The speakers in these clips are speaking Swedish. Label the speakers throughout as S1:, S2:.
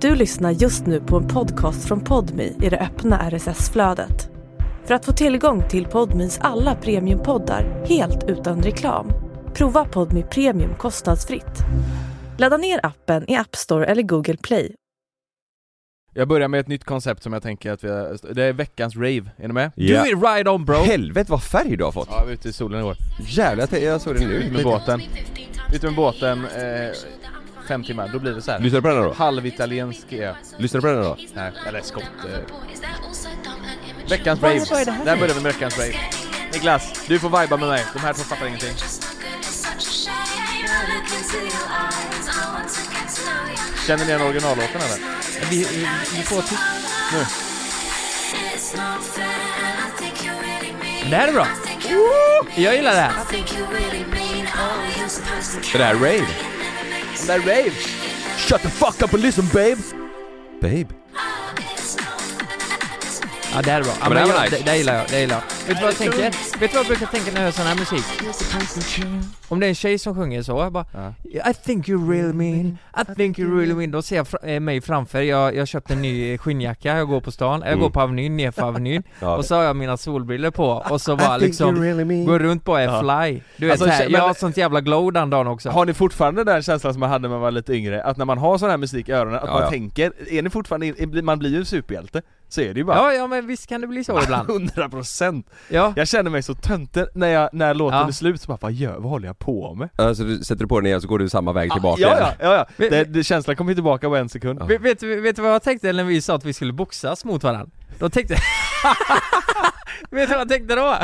S1: Du lyssnar just nu på en podcast från Podmi i det öppna RSS-flödet. För att få tillgång till Podmis alla premiumpoddar helt utan reklam, prova Podmi Premium kostnadsfritt. Ladda ner appen i App Store eller Google Play.
S2: Jag börjar med ett nytt koncept som jag tänker att vi har, det är veckans rave, är ni med?
S3: Ja.
S2: Do it right on bro!
S3: Helvete vad färg du har fått!
S2: Ja, jag var ute i solen igår.
S3: Jävlar, jag- jag såg den
S2: Ut
S3: nu.
S2: med båten. Ut med båten, eh, fem timmar, då blir det så här.
S3: Lyssnar du på den här då?
S2: Halvitaliensk är jag.
S3: Lyssnar du på den här då?
S2: Nej, eller skott. Eh. Veckans rave. Där börjar vi med veckans rave. Niklas, du får viba med mig. De här två fattar ingenting. Känner ni igen originallåten eller?
S3: Vi, får till...
S4: Det här är bra!
S5: Jag gillar det här.
S3: Det där är rave.
S2: De där rave!
S3: Shut the fuck up and listen babe! Babe?
S5: Ja, det här är bra. Ja,
S3: men det här var
S5: jag-
S3: nice.
S5: det, det här gillar jag, det här gillar jag. Vet du vad jag tänker? Vet du vad jag brukar tänka när jag hör sån här musik? Om det är en tjej som sjunger så, jag bara I think you really mean, I think you really mean Då ser jag fra- eh, mig framför, jag, jag köpte en ny eh, skinnjacka, jag går på stan, jag går på Avenyn, nerför Avenyn
S3: Mm. Ja.
S5: Och så har jag mina solbriller på, och så bara liksom Går runt bara är fly Du vet
S2: Alltså,
S5: såhär,
S2: men-
S5: jag har sånt jävla glow den dagen också
S2: Har ni fortfarande den känslan som man hade när man var lite yngre? Att när man har sån här musik i öronen, att
S3: Ja,
S2: man
S3: ja.
S2: tänker, är ni fortfarande, in- man blir ju superhjälte. Så är det ju bara.
S5: Ja, ja men visst kan det bli så ibland
S2: 100%
S5: Ja,
S2: Jag känner mig så töntig när, jag, när låten
S5: Ja.
S2: är slut, så bara vad, gör, vad håller jag på med?
S3: Alltså du sätter du på den igen så går du samma väg tillbaka
S2: Ah, Ja, ja, ja, ja.
S5: Vi-
S2: Det, det, känslan kommer ju tillbaka på en sekund.
S3: Ja.
S5: Vet, vet, vet du vad jag tänkte när vi sa att vi skulle boxas mot varandra? Då tänkte Vet du vad jag tänkte då?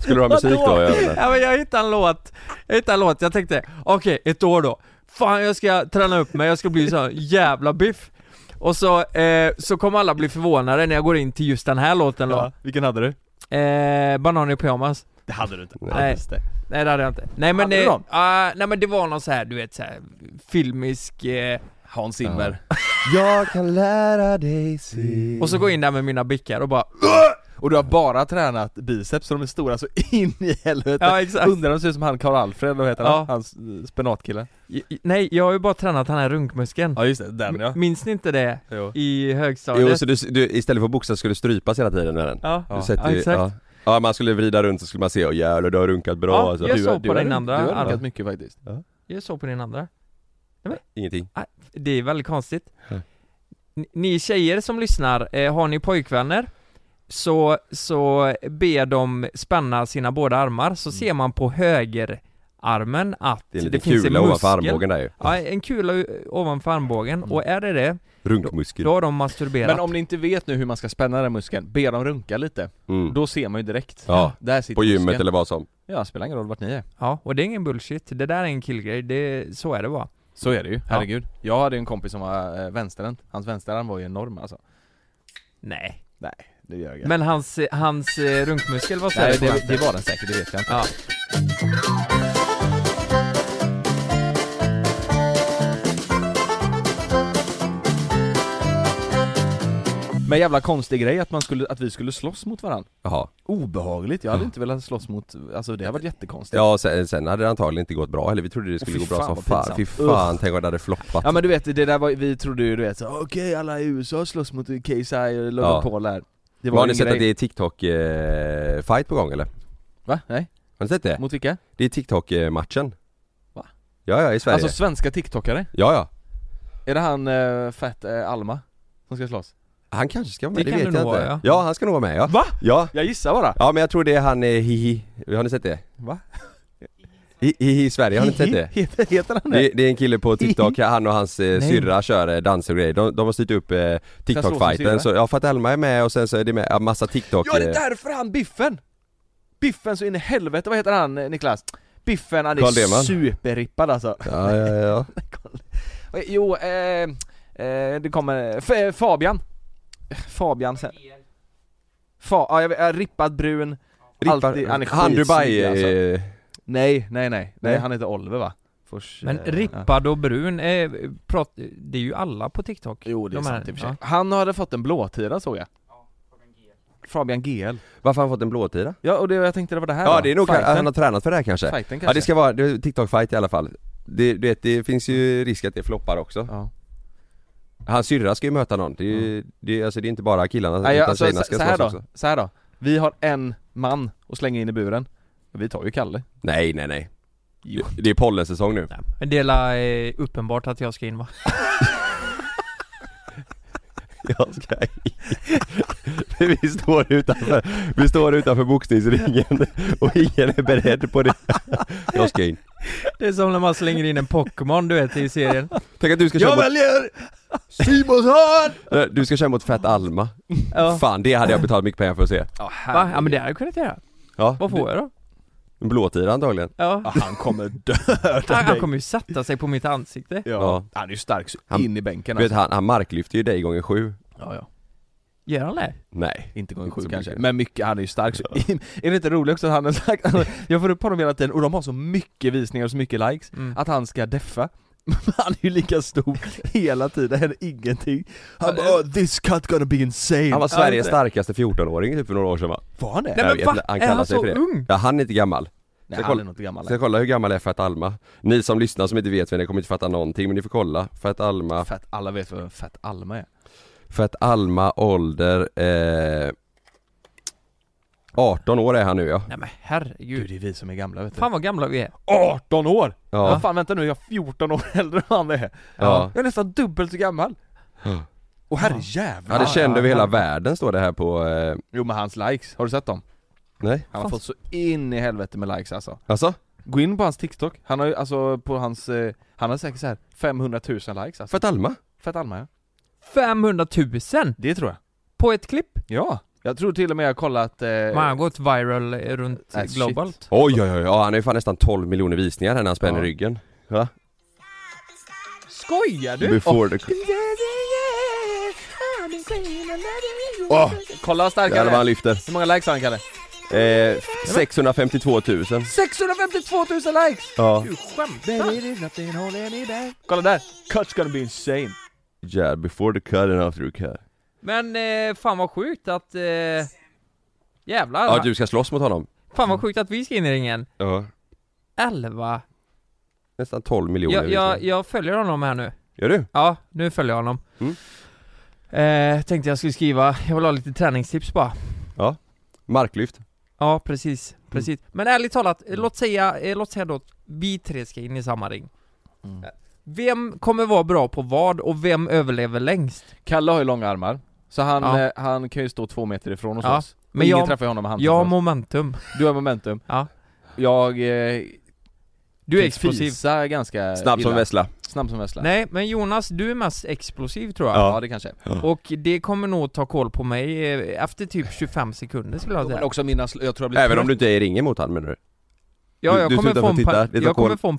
S3: Skulle du ha musik Typ då i öronen?
S5: Ja, men jag hittade en låt, jag hittade en låt, jag tänkte okej, ett år då Fan jag ska träna upp mig, jag ska bli så jävla biff Och så, eh, så kommer alla bli förvånade när jag går in till just den här låten då
S2: Ja. Vilken hade du?
S5: eh, Banan i pyjamas
S2: Det hade du inte.
S5: Nej.
S2: Ja, just det.
S5: Nej det hade jag inte Nej men,
S2: Hade du
S5: eh,
S2: dem?
S5: ah, nej, men det var någon så här, du vet så här, filmisk eh,
S2: Hans Zimmer.
S3: Jag kan lära dig se...
S5: Och så går jag in där med mina bickar och bara
S2: Och du har bara tränat biceps så de är stora så in i helvete.
S5: Ja, exakt.
S2: Undrar om det ser ut som han Karl-Alfred, vad heter
S5: Ja.
S2: han? Hans eh, spenatkille.
S5: I- i- Nej, jag har ju bara tränat den här runkmuskeln
S2: Ja just det, den ja.
S5: Minns ni inte det?
S2: Jo.
S5: I högstadiet?
S3: Jo, så du, du istället för att boxa skulle du strypas hela tiden med den?
S5: Ja,
S3: Du sätter,
S5: ja exakt
S3: ja. ja, man skulle vrida runt så skulle man se, åh jävlar du har runkat bra
S5: Ja,
S3: alltså.
S5: jag
S3: Du-
S5: såg
S2: du
S5: på
S2: har-
S5: din andra
S2: Du har
S5: arm.
S2: runkat mycket faktiskt.
S5: Jag såg på din andra
S3: Ingenting.
S5: Ah, Det är väldigt konstigt
S3: Ja.
S5: Ni- Ni tjejer som lyssnar, eh, har ni pojkvänner? Så, så ber de spänna sina båda armar, så ser man på högerarmen
S3: Mm.
S5: att
S3: Det är en
S5: det
S3: liten
S5: finns en
S3: kula ovanför
S5: muskel.
S3: armbågen Mm. där ju.
S5: Ja, en kula u- ovanför armbågen, och är det det,
S3: Runkmuskel.
S5: då har de masturberat
S2: Men om ni inte vet nu hur man ska spänna den muskeln, be dem runka lite.
S3: Mm.
S2: Då ser man ju direkt.
S3: Ja.
S2: Där sitter
S3: På gymmet
S2: muskeln.
S3: eller vad som.
S2: Ja, spelar ingen roll vart ni är.
S5: Ja, och det är ingen bullshit, det där är en killgrej, det, så är det bara
S2: Så är det ju, herregud. Jag hade ju en kompis som var eh, vänsterhänt, hans vänsterarm var ju enorm alltså.
S5: Nej
S2: Det gör jag.
S5: Men hans, hans eh, runkmuskel var större
S2: Nej,
S5: på
S2: det,
S5: vänster.
S2: det var den säkert, det vet jag inte.
S5: Ja.
S2: Men jävla konstig grej att, man skulle, att vi skulle slåss mot varandra.
S3: Jaha.
S2: Obehagligt, jag hade inte velat slåss mot, alltså det hade varit jättekonstigt.
S3: Ja, sen, sen hade det antagligen inte gått bra heller. Vi trodde det skulle
S2: Åh, fy
S3: gå bra
S2: fan,
S3: som
S2: vad
S3: fan.
S2: pinsamt.
S3: Fy fan, tänk om det hade floppat.
S2: Ja men du vet, det där var, vi trodde ju du vet så, okej alla i USA slåss mot KSI och Logan
S3: Ja.
S2: Paul här Det
S3: Men
S2: var
S3: har
S2: ju
S3: ni
S2: en
S3: sett
S2: grej
S3: att det är TikTok-fight på gång eller?
S2: Va? Nej?
S3: Har ni sett det?
S2: Mot vilka?
S3: Det är TikTok-matchen.
S2: Va?
S3: Ja, ja, i Sverige.
S2: Alltså svenska tiktokare?
S3: Ja, ja.
S2: Är det han eh, Fett eh, Alma? Som ska slåss?
S3: Han kanske ska vara
S5: Det
S3: med, det, vet
S5: kan du
S3: jag
S5: nog
S3: inte.
S5: vara, ja.
S3: ja. han ska nog vara med ja.
S2: Va?
S3: Ja.
S2: Jag gissar bara!
S3: Ja, men jag tror det är han eh, Hihi. Har ni sett det?
S2: Va?
S3: Hi- Hihi i Sverige, har ni inte sett det?
S2: Heter, heter han det?
S3: Det, det är en kille på TikTok, han och hans eh, syrra kör eh, danser och grejer. De, de har styrt upp eh,
S2: syrra?
S3: TikTok-fighten, så ja, Fat Alma är med och sen så är det med ja, massa TikTok
S2: Ja det är
S3: eh,
S2: därför han Biffen! Biffen så in i helvete, vad heter han eh, Niklas? Biffen, han är
S3: Carl Deman.
S2: superrippad alltså
S3: Ja, ja, ja.
S2: Jo, eh, eh, det kommer, F- Fabian Fabian sen Fa, ja, jag vet, eh, rippad brun
S3: Rippar,
S2: Alltid- han är
S3: han
S2: skitsnygg,
S3: Dubai,
S2: alltså.
S3: eh,
S2: Nej, nej, nej, nej
S3: Nej.
S2: han heter Oliver va? Fors,
S5: Men
S2: eh, ja.
S5: rippad och brun, eh, prat, det är ju alla på TikTok
S2: Jo det är
S5: De här-
S2: sant i och för sig Han hade fått en blåtira såg jag Fabian GL
S3: varför har han fått en blåtira?
S2: Ja och det, jag tänkte det var det här
S3: Ja
S2: då.
S3: det är nog, han,
S2: Fighten.
S3: han har tränat för det här kanske.
S2: Fighten kanske
S3: Ja det ska vara, det är TikTok-fight i alla fall. det, du vet, det finns ju risk att det floppar också
S2: Ja.
S3: Hans syrra ska ju möta någon, det är ju, det, är- alltså det är inte bara killarna
S2: Nej, jag,
S3: utan
S2: alltså,
S3: tjejerna
S2: så,
S3: ska
S2: så här
S3: slåss
S2: då,
S3: också
S2: så här då. Vi har en man att slänga in i buren. Vi tar ju Kalle.
S3: Nej nej nej
S2: Jo.
S3: Det är pollensäsong nu
S5: Men det är la, eh, uppenbart att jag ska in va?
S3: Jag ska in. Vi står utanför, vi står utanför boxningsringen och ingen är beredd på det Jag ska in
S5: Det är som när man slänger in en Pokémon du vet i serien
S3: Tänk att du ska
S5: Jag
S3: köra
S5: väljer Simonsson!
S3: mot, du ska köra mot Fat Alma
S5: Ja,
S3: Fan det hade jag betalat mycket pengar för att se
S2: Ja,
S5: va? Ja men det hade jag kunnat göra
S3: Ja,
S5: Vad får jag då?
S3: en blåtira antagligen
S5: Ja,
S2: han kommer dö.
S5: han, han kommer ju sätta sig på mitt ansikte
S2: Ja.
S3: Ja.
S2: Han är ju stark så
S3: Han-
S2: in i bänken alltså.
S3: Du vet han, han marklyfter ju dig gånger sju
S2: Ja, ja.
S5: Gör han det?
S3: Nej
S2: Inte gånger
S3: Inte
S2: sju
S3: så
S2: kanske,
S3: mycket.
S2: men mycket, han är ju stark så in. Är det inte roligt också att han har sagt, jag får upp honom hela tiden och de har så mycket visningar och så mycket likes,
S5: Mm.
S2: att han ska deffa. Men han är ju lika stor hela tiden, det händer ingenting. Han bara, oh, this cut gonna be insane.
S3: Han var Sveriges
S2: Ja,
S3: starkaste 14-åring typ för några år sedan va?
S2: Var han det?
S5: Nej
S3: Jag
S5: men
S3: vet
S5: va?
S3: inte, han
S5: är
S3: kallar
S5: han
S3: sig
S5: så
S3: för det.
S5: ung?
S3: Ja, han är inte gammal
S2: Nej,
S3: kolla-
S2: han är nog inte gammal.
S3: Ska jag kolla hur gammal är Fat Alma? Ni som lyssnar som inte vet vem det är kommer inte fatta någonting men ni får kolla Fat Alma
S2: Fett, alla vet vad en fett Alma är.
S3: Fat Alma ålder eh, 18 år är han nu ja
S5: Nej men herregud
S2: Gud, det är vi som är gamla vet du.
S5: Fan vad gamla vi är
S2: 18 år! Ja.
S3: Ja,
S2: fan vänta nu, jag är 14 år äldre än han är.
S3: Ja.
S2: Jag är nästan dubbelt så gammal. Och herrejävlar!
S3: ja det kände över hela
S2: han-
S3: världen står det här på eh,
S2: Jo men hans likes, har du sett dem?
S3: Nej?
S2: Han har
S5: Fan.
S2: fått så in i helvete med likes alltså.
S3: Alltså?
S2: Gå in på hans TikTok, han har ju alltså på hans, eh, han har säkert så här 500 000 likes alltså.
S3: Fat Alma?
S2: Fett Alma ja.
S5: 500 000
S2: Det tror jag.
S5: på ett klipp?
S2: Ja! Jag tror till och med jag har kollat... Eh,
S5: Man har gått viral eh, runt
S2: Ah, shit.
S5: globalt
S3: Oj oj oj, ja, han har ju fan nästan 12 miljoner visningar här när han spänner
S2: Ja.
S3: ryggen
S2: Skojar du?
S3: Before the... Åh!
S2: Kolla vad stark
S3: Jävlar
S2: han
S3: vad han
S2: är.
S3: lyfter!
S2: Hur många likes har han Kalle?
S3: Eh, 652 000
S2: 652 000 likes!
S3: Ja,
S2: Du skämtar? Kolla där! Cut's gonna be insane!
S3: yeah, before the cut and after the cut
S5: Men eh, fan vad sjukt att eh, Jävlar
S3: Ja du ska slåss mot honom?
S5: Fan vad sjukt att vi ska in i ringen
S3: Ja
S5: 11
S3: Nästan 12 miljoner
S5: jag, jag,
S3: visningar.
S5: jag följer honom här nu
S3: Gör du?
S5: Ja, nu följer jag honom
S3: Mm.
S5: eh, Tänkte jag skulle skriva, jag vill ha lite träningstips bara
S3: Marklyft?
S5: Ja, precis, precis Men ärligt talat, eh, låt säga, eh, låt säga då att vi tre ska in i samma ring
S2: Mm.
S5: Eh, Vem kommer vara bra på vad och vem överlever längst?
S2: Kalle har ju långa armar, så han,
S5: Ja.
S2: eh, han kan ju stå två meter ifrån hos
S5: Ja,
S2: oss.
S5: men
S2: Men Ingen
S5: jag-
S2: träffar ju honom med handen
S5: Jag har
S2: först.
S5: momentum
S2: Du har momentum.
S5: Ja.
S2: Jag... Eh,
S5: Du är
S2: kan
S5: explosiv
S2: fisa ganska
S3: Snabb som
S2: illa.
S3: vessla
S2: Snabb som vessla.
S5: Nej, men Jonas, du är mest explosiv tror jag
S2: Ja. det kanske.
S5: Och det kommer nog ta koll på mig eh, efter typ 25 sekunder skulle jag
S2: Men
S5: säga
S2: också mina, sl- jag tror jag blir
S3: Även om du inte är i ringen mot honom menar du?
S5: Ja,
S3: du-
S5: jag
S3: du
S5: kommer
S3: slutar
S5: få
S3: för
S5: en,
S3: att titta,
S5: pan-
S3: det tar
S5: jag
S3: koll.
S5: kommer få en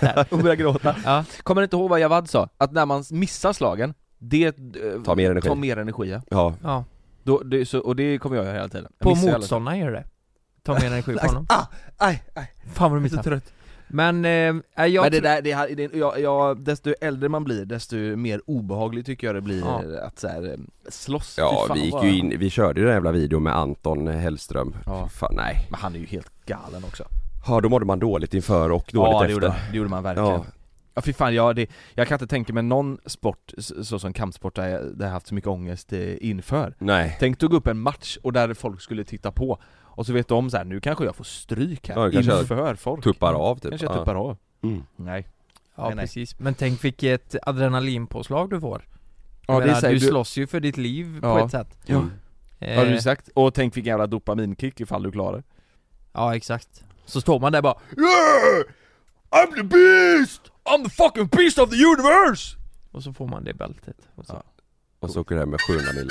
S5: där
S2: och börjar gråta.
S5: ja.
S2: Kommer du inte ihåg vad Javad sa? Att när man missar slagen, det... Eh,
S3: Ta mer energi.
S2: Tar mer energi ja.
S3: Ja
S5: ja,
S2: Då, det, så, och det kommer jag göra hela tiden. Jag
S5: på
S2: missar ju alla-
S5: motståndaren gör det Ta mer energi på
S2: Lax.
S5: honom
S2: Ah! Aj, aj.
S5: Fan vad de
S2: Så
S5: missar
S2: trött.
S5: Men, eh, jag tror-
S2: Men det där, det, här- det, jag, jag, desto äldre man blir, desto mer obehagligt tycker jag det blir
S5: Ja.
S2: att så här, eh, slåss. Fy
S3: Ja
S2: fan,
S3: vi gick
S2: vad-
S3: ju in, vi körde ju den jävla videon med Anton Hellström
S2: Ja.
S3: Fan nej
S2: Men han är ju helt galen också.
S3: Ja då mådde man dåligt inför och dåligt
S2: ja, det
S3: efter
S2: gjorde, det gjorde man verkligen. Ja,
S3: Ja.
S2: fy fan, jag, det, jag kan inte tänka mig någon sport, s- så som kampsport, där jag, där jag haft så mycket ångest eh, inför.
S3: Nej
S2: Tänk du gå upp en match och där folk skulle titta på, och så vet de så här, nu kanske jag får stryk här,
S3: Ja, det kanske jag
S2: inför folk.
S3: Tuppar av typ
S2: Mm. Kanske jag tuppar av.
S3: ja. mm.
S2: Nej.
S5: Ja
S2: Nej, nej.
S5: precis, men tänk vilket adrenalinpåslag du får
S2: Ja,
S5: Jag
S2: det är
S5: menar,
S2: så här,
S5: Du
S2: du,
S5: slåss ju för ditt liv
S2: Ja.
S5: på ett sätt
S2: Ja.
S3: Mm.
S5: Eh,
S2: har du sagt? Och tänk vilken jävla dopaminkick ifall du klarar det.
S5: Ja exakt Så står man där bara
S2: Yeah! I'm the beast! I'm the fucking beast of the universe!
S5: och så får man det bältet och så.
S2: Ja.
S3: Och så åker det här med 700 mil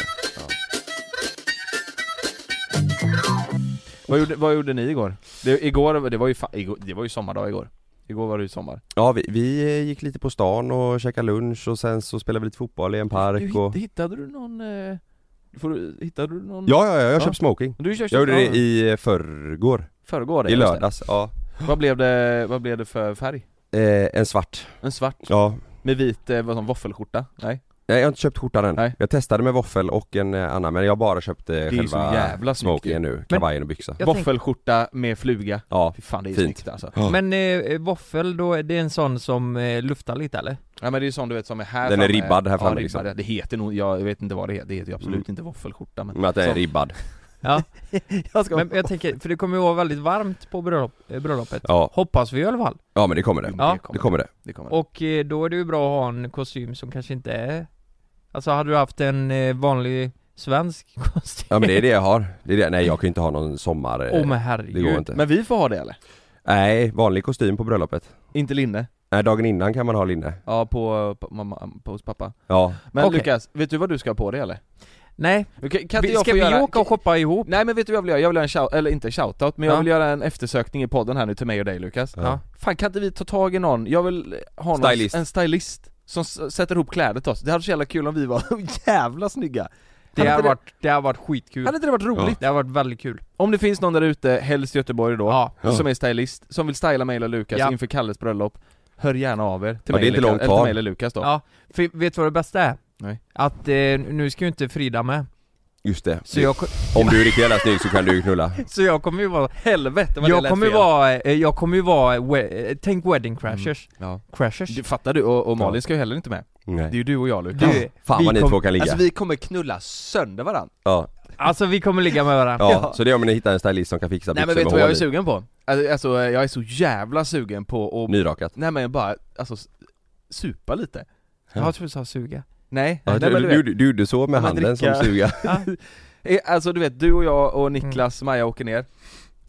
S2: Vad gjorde, vad gjorde ni igår? Det, igår, det var ju, fa- igår, det var ju sommardag igår. Igår var det ju sommar.
S3: Ja vi, vi eh, gick lite på stan och käkade lunch och sen så spelade vi lite fotboll i en
S2: Du,
S3: park
S2: hitt-
S3: och
S2: Hittade du någon... Eh, får du, hittade du någon...
S3: Ja ja ja, jag
S2: Ja.
S3: köpte smoking
S2: Du körde
S3: Jag gjorde det i eh, förrgår,
S2: förrgår
S3: i lördags, ja
S2: Vad blev det, vad blev det för färg?
S3: eh, En svart
S2: En svart?
S3: Ja
S2: Med vit, eh, vad som, våffelskjorta? Nej?
S3: Nej jag har inte köpt skjortan än.
S2: Nej.
S3: Jag testade med våffel och en eh, annan men jag har bara köpt eh,
S2: ju så jävla
S3: själva
S2: snyggt
S3: smokingen nu, kavajen och byxa.
S5: Jag tänk-
S2: Våffelskjorta med fluga.
S3: Ja,
S2: Fy fan det är
S3: Fint.
S2: snyggt alltså.
S3: Ja.
S5: Men eh, våffel då, är det en sån som eh, luftar lite eller?
S2: Ja men det är ju sån du vet som är här
S3: Den är
S2: framme.
S3: ribbad här
S2: ja,
S3: framme,
S2: ribbad.
S3: liksom.
S2: Det heter nog, jag vet inte vad det heter, det heter ju absolut
S3: Mm.
S2: inte våffelskjorta men
S3: men att den är
S2: Så.
S3: ribbad.
S2: jag ska...
S5: Men jag tänker, för det kommer ju vara väldigt varmt på bröllop, eh, bröllopet
S3: Ja,
S5: Hoppas vi i alla fall.
S3: ja men det kommer det.
S2: Jo,
S5: Ja.
S3: Det kommer det.
S2: det kommer.
S5: Och eh, då är det ju bra att ha en kostym som kanske inte är Alltså hade du haft en eh, vanlig svensk kostym?
S3: Ja men det är det jag har. Det är det. Nej jag kan ju inte ha någon sommar... eh,
S5: Åh men
S3: det
S5: herregud
S3: går inte.
S2: Men vi får ha det eller?
S3: Nej, vanlig kostym på bröllopet.
S2: Inte linne?
S3: Nej dagen innan kan man ha linne.
S2: Ja, på, på, mamma, på hos pappa.
S3: Ja,
S2: Men
S5: Okej.
S2: Lukas, vet du vad du ska ha på dig eller?
S5: Nej,
S2: Kan, kan
S5: vi, ska vi åka och shoppa ihop?
S2: Nej men vet du vad jag vill göra? Jag vill göra en shout, eller inte shoutout, men jag
S5: Ja.
S2: vill göra en eftersökning i podden här nu till mig och dig Lukas
S3: Ja.
S2: Fan kan inte vi ta tag i någon, jag vill ha någon,
S3: Stylist.
S2: en stylist som s- sätter ihop kläder till oss, det hade varit så jävla kul om vi var jävla snygga
S5: Det
S2: hade,
S5: har
S2: inte
S5: varit, det har varit skitkul
S2: det, hade inte det varit roligt?
S5: Det har varit väldigt kul
S2: Om det finns någon där ute, helst i Göteborg då,
S5: Ja.
S2: som är stylist, som vill styla mig eller Lukas
S5: Ja.
S2: inför Kalles bröllop Hör gärna av er till,
S3: Ja,
S2: mig,
S3: det är inte
S2: eller,
S3: långt
S2: eller till
S3: kvar.
S2: mig eller Lukas då
S5: Ja. För vet du vad det bästa är?
S2: Nej.
S5: Att eh, nu ska ju inte Frida med
S3: just det.
S5: Så jag, ko-
S3: Om du är riktigt jävla snygg så kan du ju knulla.
S5: så jag kommer ju vara
S2: Helvete vad det
S5: Jag
S2: lät
S5: kommer ju
S2: fel. Mm.
S5: vara, eh, jag kommer ju vara, we- eh, tänk wedding crashers
S2: ja.
S5: Crashers?
S2: Du, Fattar du? Och, och Malin ska ju heller inte med Det är
S3: Nej.
S2: ju du och jag Lukas
S5: Du,
S3: Fan
S5: vi
S3: vad ni
S5: kom-
S3: två kan ligga.
S2: Alltså vi kommer knulla sönder varandra
S3: Ja.
S5: Alltså vi kommer ligga med varandra
S3: Ja,
S2: Ja.
S3: så det är om ni hittar en stylist som kan fixa
S2: Nej
S3: byxor
S2: men vet du
S3: med
S2: vad jag är
S3: hål i.
S2: sugen på? Alltså alltså, jag är så jävla sugen på att,
S3: Nyrakat.
S2: nej men bara, alltså s- supa lite
S5: Jag tror du sa suga
S2: Nej,
S3: Ja,
S2: nej men
S3: du,
S2: du
S3: du,
S2: vet,
S3: du, du gjorde så med
S2: Ja, men
S3: handen som
S2: dricka.
S3: suga.
S2: eh, alltså du vet du och jag och Niklas, Maja åker ner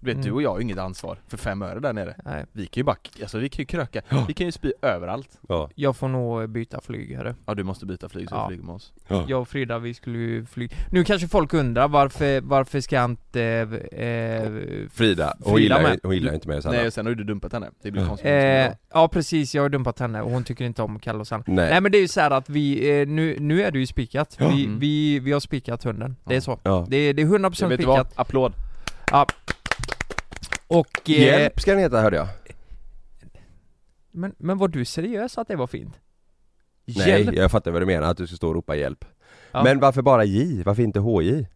S2: Du vet
S5: Mm.
S2: du och jag har ju inget ansvar för fem öre där nere
S5: Nej,
S2: Vi kan ju bara, alltså vi kan ju kröka,
S3: Ja.
S2: vi kan ju spy överallt
S3: Ja.
S5: jag får nog eh, byta flygare
S2: Ja du måste byta flyg så
S5: Ja.
S2: du flyger med oss
S5: Jag och Frida vi skulle ju flyga Nu kanske folk undrar varför, varför ska inte, eh,
S3: Frida, hon
S5: Frida
S3: gillar, ju-
S5: med.
S3: hon gillar ju inte mig och Sanna.
S2: Nej och sen Mm. har ju du dumpat henne, det blir
S3: Ja.
S2: konstigt
S5: eh, eh, ja precis jag har dumpat henne och hon tycker inte om Kalle och Sanna
S3: Nej.
S5: Nej men det är ju så här att vi, eh, nu, nu är det ju spikat,
S3: Ja.
S5: vi,
S2: Mm.
S5: vi, vi har spikat hunden, det är så
S3: Ja.
S5: Det, det är 100%
S2: Jag vet du
S5: spikat
S2: vad, applåd!
S5: och... eh,
S3: Hjälp ska den heta hörde jag.
S5: men, men var du seriös att det var fint?
S3: Nej, jag fattar vad du menar, att du ska stå och ropa hjälp.
S5: Ja.
S3: Men varför bara J? Varför inte HJ?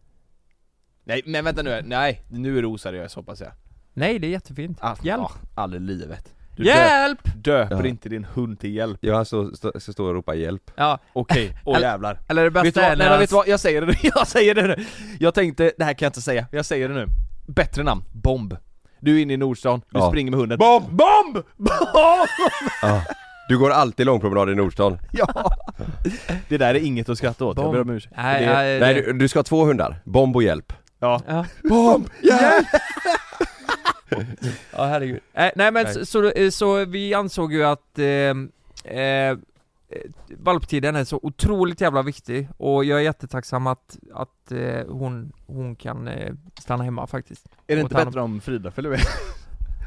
S2: Nej men vänta nu, nej nu är du oseriös hoppas jag
S5: Nej det är jättefint
S2: Ah,
S5: Hjälp.
S2: ah, Aldrig i livet Du
S5: Hjälp!
S2: dö- döper
S3: Ja.
S2: inte din hund till hjälp
S3: Ja, han stå- stå- ska stå och ropa hjälp.
S5: Ja,
S2: Okej, åh
S5: Eller-
S2: jävlar
S5: eller det
S2: Vet du,
S5: bästa är
S2: vad, nej,
S5: när
S2: men
S5: han,
S2: vet du vad, jag säger det nu, jag säger det nu! Jag tänkte, det här kan jag inte säga, jag säger det nu Bättre namn, Bomb Du är inne i Nordstan, du
S3: Ja.
S2: springer med hunden Bomb! Bomb! Bomb!
S3: Ja. Du går alltid långpromenad i Nordstan.
S2: Ja! Det där är inget att skratta åt, jag
S5: Bomb.
S2: ber om ursäkt
S5: Nej,
S2: det,
S5: nej,
S3: Nej,
S5: det-
S3: du, du ska ha två hundar. Bomb och hjälp.
S2: Ja,
S5: Ja,
S3: Bomb! Hjälp!
S5: ja herregud. Eh, nej men
S3: Nej.
S5: Så, så, eh, så vi ansåg ju att eh, eh, eh, valptiden är så otroligt jävla viktig och jag är jättetacksam att, att eh, hon, hon kan eh, stanna hemma faktiskt.
S2: är det inte
S5: Och ta
S2: bättre om Frida följer med?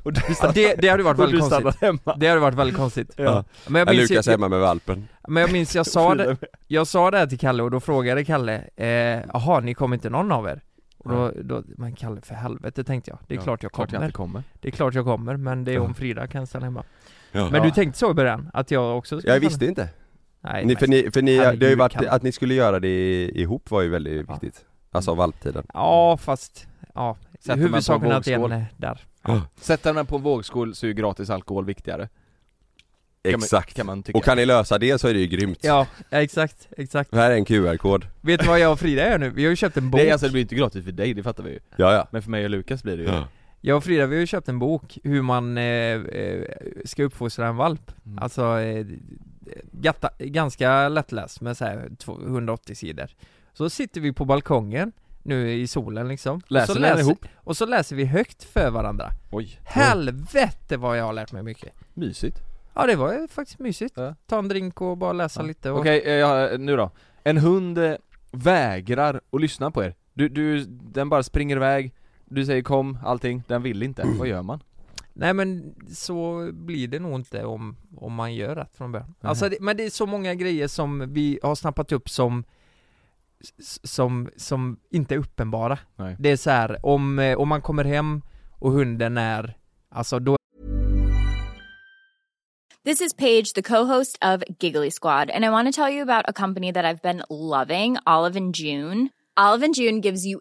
S2: Och du
S5: Ja,
S2: stannar,
S5: det, det hade ju varit
S2: och du
S5: väldigt
S2: stannar
S5: konstigt.
S2: hemma
S5: Det hade varit väldigt konstigt.
S2: Ja.
S5: Men jag
S3: Ja,
S5: minns,
S3: Lukas är
S5: jag,
S3: hemma med valpen.
S5: men jag minns jag sa
S2: Frida
S5: det,
S2: med.
S5: jag sa det här till Kalle och då frågade Kalle, eh, jaha ni kom inte någon av er? Och då, då, men Kalle för helvete tänkte jag, det är
S2: Ja,
S5: klart jag
S2: Klart jag
S5: kommer.
S2: inte kommer
S5: Det är klart jag kommer, men det är om Frida kan stanna hemma.
S3: Ja.
S5: Men du tänkte så i början? Att jag också skulle
S3: Jag
S5: stanna?
S3: visste inte.
S5: Nej,
S3: Ni, för ni, för ni, det har ju
S5: Herregud,
S3: varit,
S5: Kalle.
S3: att ni skulle göra det ihop var ju väldigt
S5: Ja.
S3: viktigt. Alltså valptiden.
S5: Ja fast, ja.
S2: Sätter man på
S5: Huvudsaken
S2: en
S5: är att det är en
S2: vågskål.
S5: eh, där.
S2: Sätter man på en vågskål så är ju gratis alkohol viktigare man-
S3: Exakt.
S2: Kan man tycka
S3: Och kan ni lösa det så är det ju grymt.
S5: Ja, exakt, exakt.
S3: Det här är en QR-kod.
S5: Vet du vad jag och Frida gör nu? Vi har ju köpt en bok.
S2: Nej alltså det blir inte gratis för dig, det fattar vi ju
S3: Ja, ja.
S2: Men för mig och Lukas blir det ju
S5: Jag och Frida vi har ju köpt en bok hur man eh, eh, ska uppfostra en valp.
S2: Mm.
S5: Alltså, eh, gatta, ganska lättläst med så här 180 sidor. Så sitter vi på balkongen nu i solen liksom.
S2: Läser
S5: och, så
S2: ni den ihop? Mm.
S5: och så läser vi högt för varandra.
S2: Oj,
S5: Helvete vad jag har lärt mig mycket.
S2: mysigt
S5: Ja det var ju faktiskt mysigt.
S2: Ja.
S5: Ta en drink och bara läsa
S2: Ja.
S5: lite och...
S2: Okej, eh, ja, nu då. En hund eh, vägrar att lyssna på er. Du, du, den bara springer iväg, du säger kom, allting, den vill inte.
S5: Mm.
S2: Vad gör man?
S5: Nej men så blir det nog inte om, om man gör rätt från början.
S2: Nej.
S5: Alltså det, men det är så många grejer som vi har snappat upp som s- som, som inte är uppenbara.
S2: Nej.
S5: Det är så här, om, eh, om man kommer hem och hunden är, alltså då
S4: This is Paige, the co-host of Giggly Squad, and I want to tell you about a company that I've been loving, Olive and June. Olive and June gives you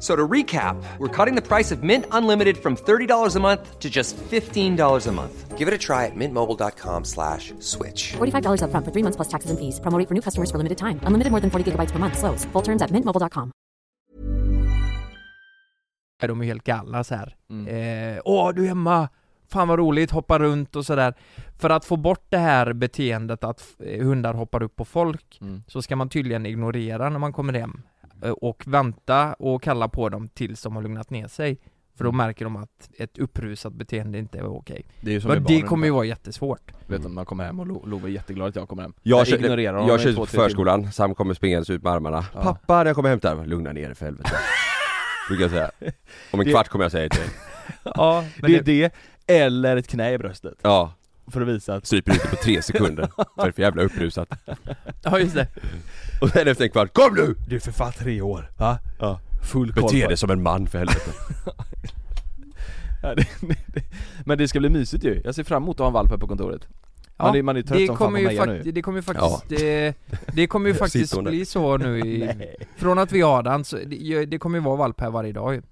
S6: So to recap, we're cutting the price of Mint Unlimited from $30 a month to just $15 a month.
S7: Give it a try at mintmobile.com slash switch.
S8: $45 upfront for three months plus taxes and fees. Promo rate for new customers for limited time. Unlimited more than 40 gigabytes per month. Slows. Full terms at mintmobile.com.
S5: är de ju helt galna så här.
S2: Mm.
S5: Eh, Åh, du är hemma! Fan vad roligt, hoppa runt och sådär. För att få bort det här beteendet att eh, hundar hoppar upp på folk,
S2: Mm.
S5: så ska man tydligen ignorera när man kommer hem. eh, Och vänta och kalla på dem tills de har lugnat ner sig. För
S2: Mm.
S5: då märker de att ett upprusat beteende inte är okej.
S3: Det är ju som
S5: Men det kommer ju vara jättesvårt.
S2: Vet du, man kommer hem och Lo- Love är jätteglad att jag kommer hem
S3: Jag, jag
S2: ignorerar
S3: ignorerar
S2: honom
S3: Jag
S2: i
S3: kör
S2: två,
S3: till
S2: tre timmar.
S3: förskolan, Sam kommer springandes ut med armarna
S2: Ja.
S3: Pappa, när jag kommer hämta dig. Lugna ner dig för helvete Brukar jag säga Om en
S2: Det-
S3: kvart kommer jag säga det till
S5: Ja, men
S2: Det är det, eller ett knä i bröstet
S3: Ja,
S2: för att visa att
S3: stryper ut det på tre sekunder Vad är det för jävla upprusat?
S5: ja just det.
S3: Och sen efter en kvart, kom nu!
S2: Du är för fan tre år, va?
S3: Ja.
S2: Full koll
S3: Bete
S2: på-
S3: dig som en man för helvete
S2: Ja, det, det, Men det ska bli mysigt ju, jag ser fram emot att ha en valp här på kontoret Man är- man är trött
S5: det
S2: som fan
S5: kommer
S2: på
S5: ju
S2: Meja
S5: fakt-
S2: nu.
S5: Det kommer ju faktiskt, det, det kommer ju
S3: Jag sitter
S5: faktiskt
S3: under.
S5: bli så nu i, Från att vi har den, så det, det kommer ju vara valp här varje dag ju.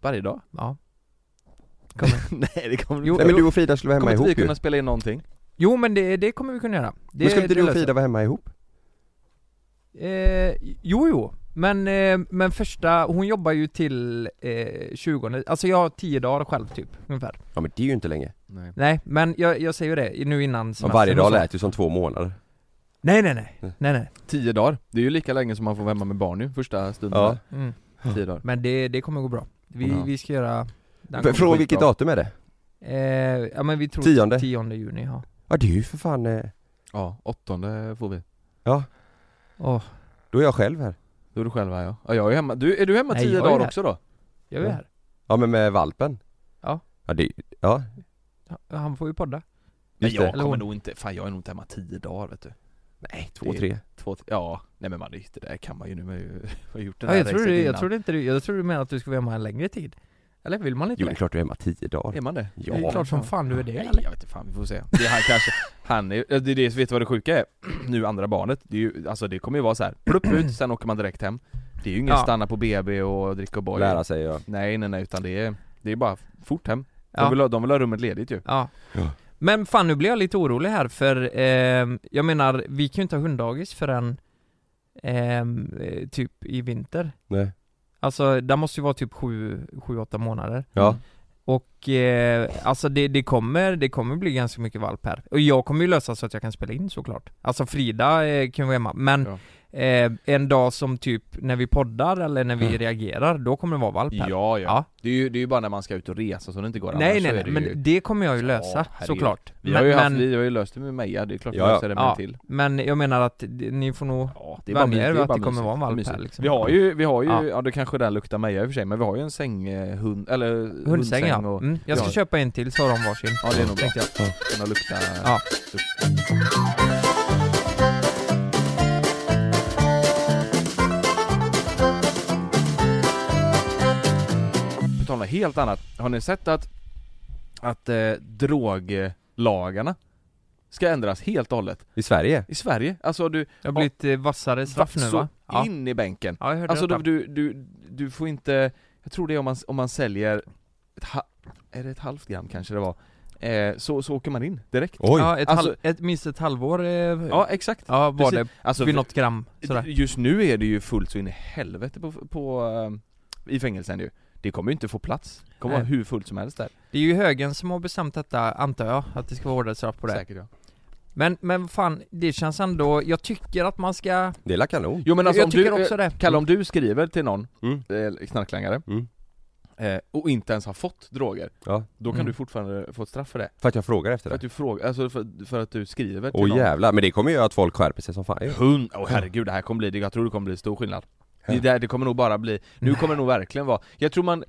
S2: Varje dag?
S5: Ja.
S2: Nej det kommer
S5: Jo,
S2: inte
S3: Nej men du och Frida skulle vara hemma
S2: Kommer inte vi
S3: ihop ju
S2: kunna spela in någonting?
S5: Jo men det, det kommer vi kunna göra. Det,
S3: Men skulle inte
S5: det
S3: du och
S5: löser
S3: Frida vara hemma ihop?
S5: jag. Eh, jo jo, men, eh, men första, hon jobbar ju till eh, 20, alltså jag har 10 dagar själv typ, ungefär.
S3: Ja men det är ju inte länge
S2: Nej
S5: Nej men jag, jag säger ju det, nu innan
S3: Men
S5: semestern
S3: Varje
S5: och
S3: dag
S5: så.
S3: lät Mm. ju som två månader
S5: Nej nej nej, nej nej.
S2: Tio dagar, det är ju lika länge som man får vara hemma med barn nu, första stunden
S3: Ja.
S5: Mm.
S2: där. Tio dagar
S5: Men det, det kommer gå bra. Vi,
S2: Ja.
S5: vi ska göra
S3: För-
S5: den kommer-
S3: Från vilket
S2: skitbra.
S3: datum är det?
S5: Eh, ja men vi tror
S3: Tionde?
S5: 10 juni ja.
S3: Ja det är ju för fan, eh,
S2: Ja, åttonde får vi
S5: Åh,
S3: då är jag själv här
S2: Då är du själv här ja, ja jag är hemma, du, är du hemma
S5: Nej,
S2: tio
S5: jag är
S2: dagar
S5: här.
S2: också då?
S5: jag är här.
S3: Ja men med valpen?
S5: Ja.
S3: Ja det, ja
S5: Han får ju podda.
S2: Nej
S3: just
S2: jag
S3: det
S5: Eller
S2: kommer
S5: hon.
S2: nog inte, fan jag är nog inte hemma tio dagar vet du
S3: Nej, två, tre
S2: Två, t- ja, nej men man, det det där kan man ju nu, man har ju- har gjort den
S5: Ja,
S2: här
S5: jag, tror
S2: racet
S5: du, jag,
S2: innan.
S5: tror inte, du- jag tror du menar att du ska vara hemma en längre tid. Eller vill man inte
S3: Jo det är
S5: det?
S3: klart du är hemma tio dagar
S2: Är man det?
S3: Ja.
S5: Det är klart som fan du är det
S2: Nej,
S5: eller?
S2: jag vet inte fan, vi får se. Det är han kanske, han är, det är det, vet du vad det sjuka är? Nu andra barnet, det är ju, alltså det kommer ju vara så här, plupp ut, sen åker man direkt hem Det är ju ingen
S5: Ja.
S2: stanna på BB och dricka och boy
S3: Lära sig ja
S2: Nej nej nej, utan det är, det är bara fort hem de,
S5: Ja.
S2: vill ha, de vill ha rummet ledigt ju
S5: Ja.
S3: Ja.
S5: Men fan nu blir jag lite orolig här för eh, jag menar, vi kan ju inte ha hunddagis förrän ehm, eh, typ i vinter.
S3: Nej.
S5: Alltså, där måste ju vara typ 7-8 månader.
S3: Ja.
S5: Och eh, alltså det, det, kommer, det kommer bli ganska mycket valp här. Och jag kommer ju lösa så att jag kan spela in såklart. Alltså Frida eh, kan vara hemma, men eh, en dag som typ när vi poddar eller när vi
S3: Ja.
S5: reagerar, då kommer det vara valp här.
S2: Ja ja,
S5: Ja.
S2: det är ju, det är ju bara när man ska ut och resa så det inte går
S5: nej
S2: annars så
S5: nej
S2: är
S5: nej,
S2: det
S5: men
S2: ju,
S5: det kommer jag ju
S2: Ja,
S5: lösa
S2: herregud.
S5: såklart.
S2: Vi har ju
S5: men,
S2: haft, vi har ju löst det med Meja, det är klart vi
S3: Ja, ja.
S2: löser det med en
S5: ja,
S2: till
S5: men jag menar att det- ni får nog
S2: Ja,
S5: vänja er
S2: mysigt,
S5: vid att
S2: bara
S5: det kommer
S2: mysigt.
S5: vara en valp
S2: Mysigt.
S5: här liksom.
S2: Vi har ju, vi har ju, ja,
S5: Ja.
S2: det kanske den luktar Meja i och för sig, men vi har ju en sänghund, eller
S5: Hundsäng ja.
S2: och
S5: Mm, jag ska
S2: Ja.
S5: köpa en till så har de varsin.
S2: Ja det är nog bra,
S5: tänkte jag.
S2: kunna lukta
S5: Ja.
S2: På tal om något helt annat, har ni sett att, att eh, droglagarna ska ändras helt och hållet?
S3: I Sverige?
S2: I Sverige, alltså du,
S5: Det har blivit eh, vassare straff nu
S2: så
S5: va? Ja.
S2: in i bänken
S5: ja, jag hörde
S2: Alltså
S5: detta.
S2: du, du, du, du får inte, jag tror det är om man, om man säljer ett ha, Är det ett halvt gram kanske det var? eh, så, så åker man in direkt
S3: Oj!
S5: Ja, ett
S2: Alltså-
S5: halv, ett, minst ett halvår eh,
S2: Ja
S5: ja,
S2: exakt
S5: var
S2: precis.
S5: det,
S2: Alltså,
S5: vid
S2: för-
S5: något gram sådär.
S2: Just nu är det ju fullt så in i helvete på, på, eh, i fängelsen ju Det kommer ju inte få plats, det kommer
S5: Nej.
S2: vara hur fullt som helst där
S5: Det är ju högern som har bestämt detta, antar jag, att det ska vara hårdare straff på det
S2: Säkert ja
S5: Men, men fan, det känns ändå, jag tycker att man ska
S3: Det är la kanon.
S2: Jo men alltså
S5: Jag
S2: om
S5: tycker
S2: du,
S5: också det.
S2: Kalle om du skriver till någon,
S3: Mm.
S2: eh, knarklangare
S3: Mm.
S2: eh, Och inte ens har fått droger,
S3: Ja.
S2: då kan
S5: Mm.
S2: du fortfarande få ett straff för det
S3: För att jag frågar efter
S2: För att
S3: det.
S2: du frågar, alltså för, för att du skriver till
S3: Åh
S2: någon
S3: jävlar, men det kommer göra att folk skärper sig som fan ju.
S2: Hund, åh herregud det här kommer bli, det- jag tror det kommer bli stor skillnad det, där, det kommer nog bara bli, nu
S5: Mm.
S2: kommer det nog verkligen vara, jag tror man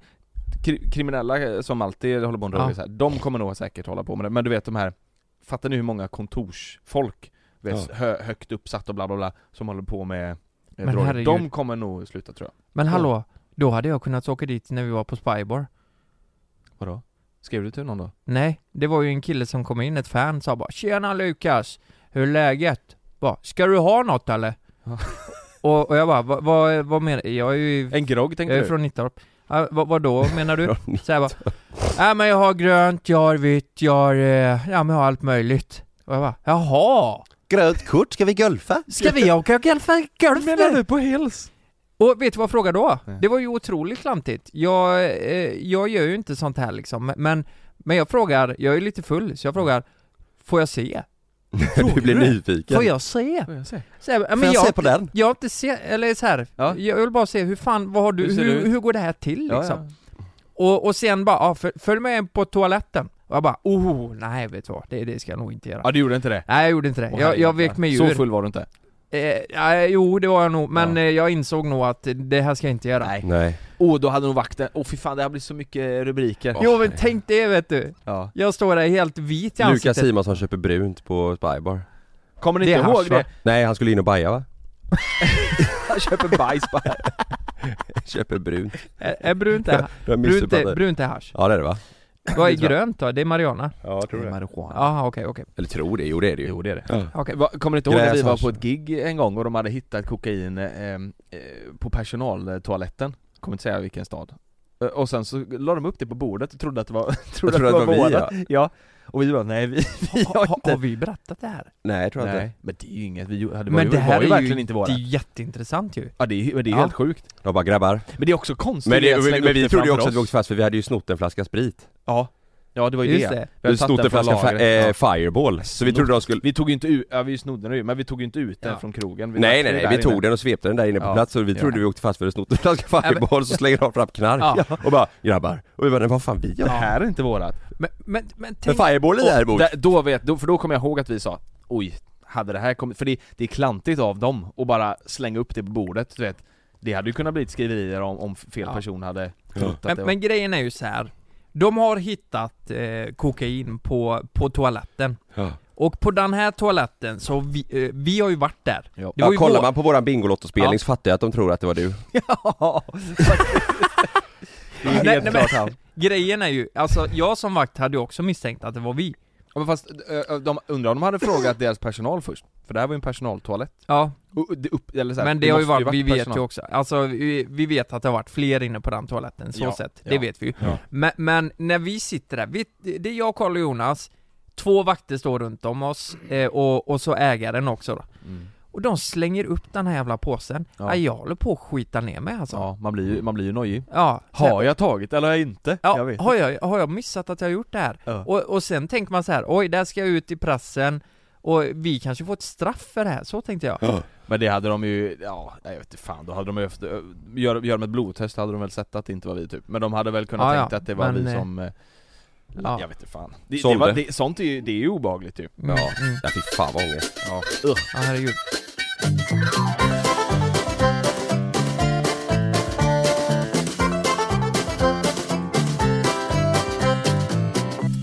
S2: kri, Kriminella eh, som alltid håller på med droger
S5: Ja.
S2: så här, de kommer nog säkert hålla på med det, men du vet de här Fattar ni hur många kontorsfolk, du vet,
S3: Ja.
S2: hö, högt uppsatt och bla bla bla, som håller på med eh,
S5: Men
S2: droger,
S5: herregud.
S2: de kommer nog sluta tror jag
S5: Men hallå, då hade jag kunnat åka dit när vi var på Spybar
S2: Vadå? Skrev du till någon då?
S5: Nej, det var ju en kille som kom in, ett fan, sa bara 'Tjena Lukas, hur är läget?' Bara 'Ska du ha något eller?'
S2: Ja.
S5: och, och jag bara, "Va- vad vad menar du? Jag är ju
S2: En grogg
S5: jag
S2: tänkte
S5: är
S2: du?
S5: Eh, från Nittorp ja, vad, då menar du? Så jag bara, nej men jag har grönt, jag har vitt, jag har, eh, ja men jag har allt möjligt Och jag bara, jaha!
S3: Grönt kort, ska vi golfa?
S5: Ska vi åka golf golf nu?
S2: på hels?
S5: Och vet du vad jag frågade då?
S2: Nej.
S5: Det var ju otroligt klantigt. Jag, eh, jag gör ju inte sånt här liksom, men, men jag frågar, jag är lite full,
S2: Mm.
S5: så jag frågar Får jag se?
S3: du blir nyfiken.
S5: Får jag se?
S2: Får jag se?
S5: Så jag, bara, "Ja,
S3: Får
S5: men
S3: jag,
S5: jag,
S3: se på den?
S5: jag har inte se, eller så här,
S2: Ja.
S5: jag vill bara se hur fan, vad har du,
S2: Hur ser
S5: hur,
S2: det ut?
S5: hur, går det här till
S2: Ja,
S5: liksom?
S2: ja.
S5: Och, och sen bara, ja, föl- följ med in på toaletten. Och jag bara, oh, nej vet du vad, det, det ska jag nog inte göra.
S2: ja du gjorde inte det?
S5: Nej jag gjorde inte det,
S2: Åh,
S5: jag, jag
S2: herregud.
S5: vek mig ur.
S2: Så full var du inte?
S5: Eh, nej, jo det var jag nog, men
S2: Ja.
S5: eh, jag insåg nog att det här ska jag inte göra.
S2: Nej
S3: Nej.
S2: Åh oh, då hade nog vakten, åh oh, fy fan det här blir så mycket rubriker
S5: Jo men tänk det vet du,
S2: Ja.
S5: jag står där helt vit i
S3: Lukas
S5: ansiktet.
S3: Simonsson köper brunt på Spybar.
S2: Kommer ni
S5: Det är
S2: inte
S5: hasch,
S2: ihåg
S5: va?
S2: det?
S3: Nej, han skulle in och baja va?
S2: Han köper bajs bara
S3: Köper brunt.
S5: Är, är brunt är,
S3: Du har
S5: brunt, är,
S3: missuppfattat.
S5: brunt är hasch.
S3: Ja det är det va?
S5: Vad är
S2: Det tror jag.
S5: grönt då? Det är Mariana?
S3: Ja, tror
S2: Marijuana
S5: Jaha okej okej.
S3: Eller tror det, jo det är det ju.
S2: Jo det är det
S5: Okej.
S2: Va, Kommer ni inte ihåg när vi
S3: Gräs,
S2: var
S3: hasch.
S2: på ett gig en gång och de hade hittat kokain eh, eh, på personaltoaletten? Kommer inte säga vilken stad Eh, Och sen så la de upp det på bordet och trodde att det var, trodde att det var,
S3: vi,
S2: vårat. ja Och vi bara nej vi, vi
S5: Ha,
S2: har
S5: ha,
S2: inte
S5: har vi berättat det här?
S3: Nej jag tror jag inte.
S2: Nej, men det är ju inget, vi, gjorde- det var,
S5: Men
S2: ju,
S5: det här
S2: var ju
S5: är
S2: verkligen
S5: ju,
S2: inte
S5: det
S2: våra
S5: är ju jätteintressant ju.
S2: Ja det är, men det är
S5: Ja.
S2: helt sjukt
S3: De bara grabbar.
S2: Men det är också konstigt
S3: Men,
S2: att
S3: det,
S2: slänga
S3: men
S2: upp
S3: vi
S2: det
S3: trodde
S2: framför
S3: ju också att vi
S2: oss.
S3: åkte fast för vi hade ju snott en flaska sprit.
S2: Ja, ja det var ju
S5: Just
S2: det,
S5: det.
S2: Vi, hade
S3: Vi
S2: satt
S3: snott
S2: den
S3: en
S2: från
S3: flaska fa-
S2: lagret.
S3: eh,
S2: Ja.
S3: fireball. Så vi trodde de skulle
S2: Vi tog ju inte ut, ja vi snodde den ju, men vi tog ju inte ut den
S5: Ja.
S2: från krogen vi
S3: Nej
S2: satt
S3: nej
S2: ju
S3: nej,
S2: där
S3: vi
S2: inne.
S3: tog den och svepte den där inne på
S2: Ja.
S3: plats och vi
S2: Ja.
S3: trodde vi åkte fast för att snott en flaska fireball så slänger de fram knark och bara 'grabbar' och vi bara 'men vad fan vi gör
S2: Det här är inte vårat
S5: Men, men, men
S3: Men
S5: tänk...
S3: fireball är
S2: Och
S3: däremot,
S2: där- Då vet, då, för då kommer jag ihåg att vi sa Oj, hade det här kommit, för det, det är klantigt av dem att bara slänga upp det på bordet du vet Det hade ju kunnat bli ett skriverier om, om fel
S5: Ja.
S2: person hade trott att det
S5: Men, men grejen är ju så här. De har hittat eh, kokain på, på toaletten.
S3: Ja.
S5: Och på den här toaletten så vi, eh, vi har ju varit där.
S2: Ja.
S5: Det var
S3: ja,
S5: ju
S3: kollar
S5: vår-
S3: man på våran bingolottospelning
S5: Ja.
S3: så fattar jag att de tror att det var du
S2: var Det är
S5: Nej,
S2: helt
S5: nej, men-
S2: klart han
S5: Grejen är ju, alltså jag som vakt hade ju också misstänkt att det var vi.
S2: Ja, Men fast, eh, eh, de, undrar om de hade frågat deras personal först? För det här var ju en personaltoalett
S5: Ja,
S2: Och- och det upp, eller så här,
S5: men det, har ju
S2: måste
S5: varit, vi vet
S2: personal.
S5: ju också, alltså vi, vi vet att det har varit fler inne på den toaletten, så
S2: Ja,
S5: sett,
S2: ja.
S5: det vet vi ju.
S3: Ja.
S5: Men, men när vi sitter där, vi, det är jag, Karl och Jonas, två vakter står runt om oss, eh, och, och så ägaren också då.
S2: Mm.
S5: Och de slänger upp den här jävla påsen,
S2: Ja.
S5: ja. jag håller på att skita ner mig alltså. Ja.
S2: Ja, man blir ju, man blir ju nojig
S5: så-
S2: Har jag tagit eller har jag inte?
S5: Ja,
S2: jag vet
S5: har, jag, har jag missat att jag har gjort det här?
S2: Ja.
S5: Och, och sen tänker man så här, oj, där ska jag ut i pressen, och vi kanske får ett straff för det här, så tänkte jag.
S2: Men det hade de ju, ja, jag vet inte fan, då hade de ju haft, ö, gör, gör de ett blodtest hade de väl sett att det inte var vi typ Men de hade väl kunnat
S5: Ja, ja,
S2: tänkt att det var
S5: men,
S2: vi
S5: eh,
S2: som, eh,
S5: ja.
S2: jag vet inte fan det, det
S3: Sålde.
S2: var, det, Sånt är ju, det är ju obehagligt ju
S5: Mm.
S3: Ja,
S5: Mm.
S3: ja fy fan vad ångest
S2: ja.
S5: Ja, herregud.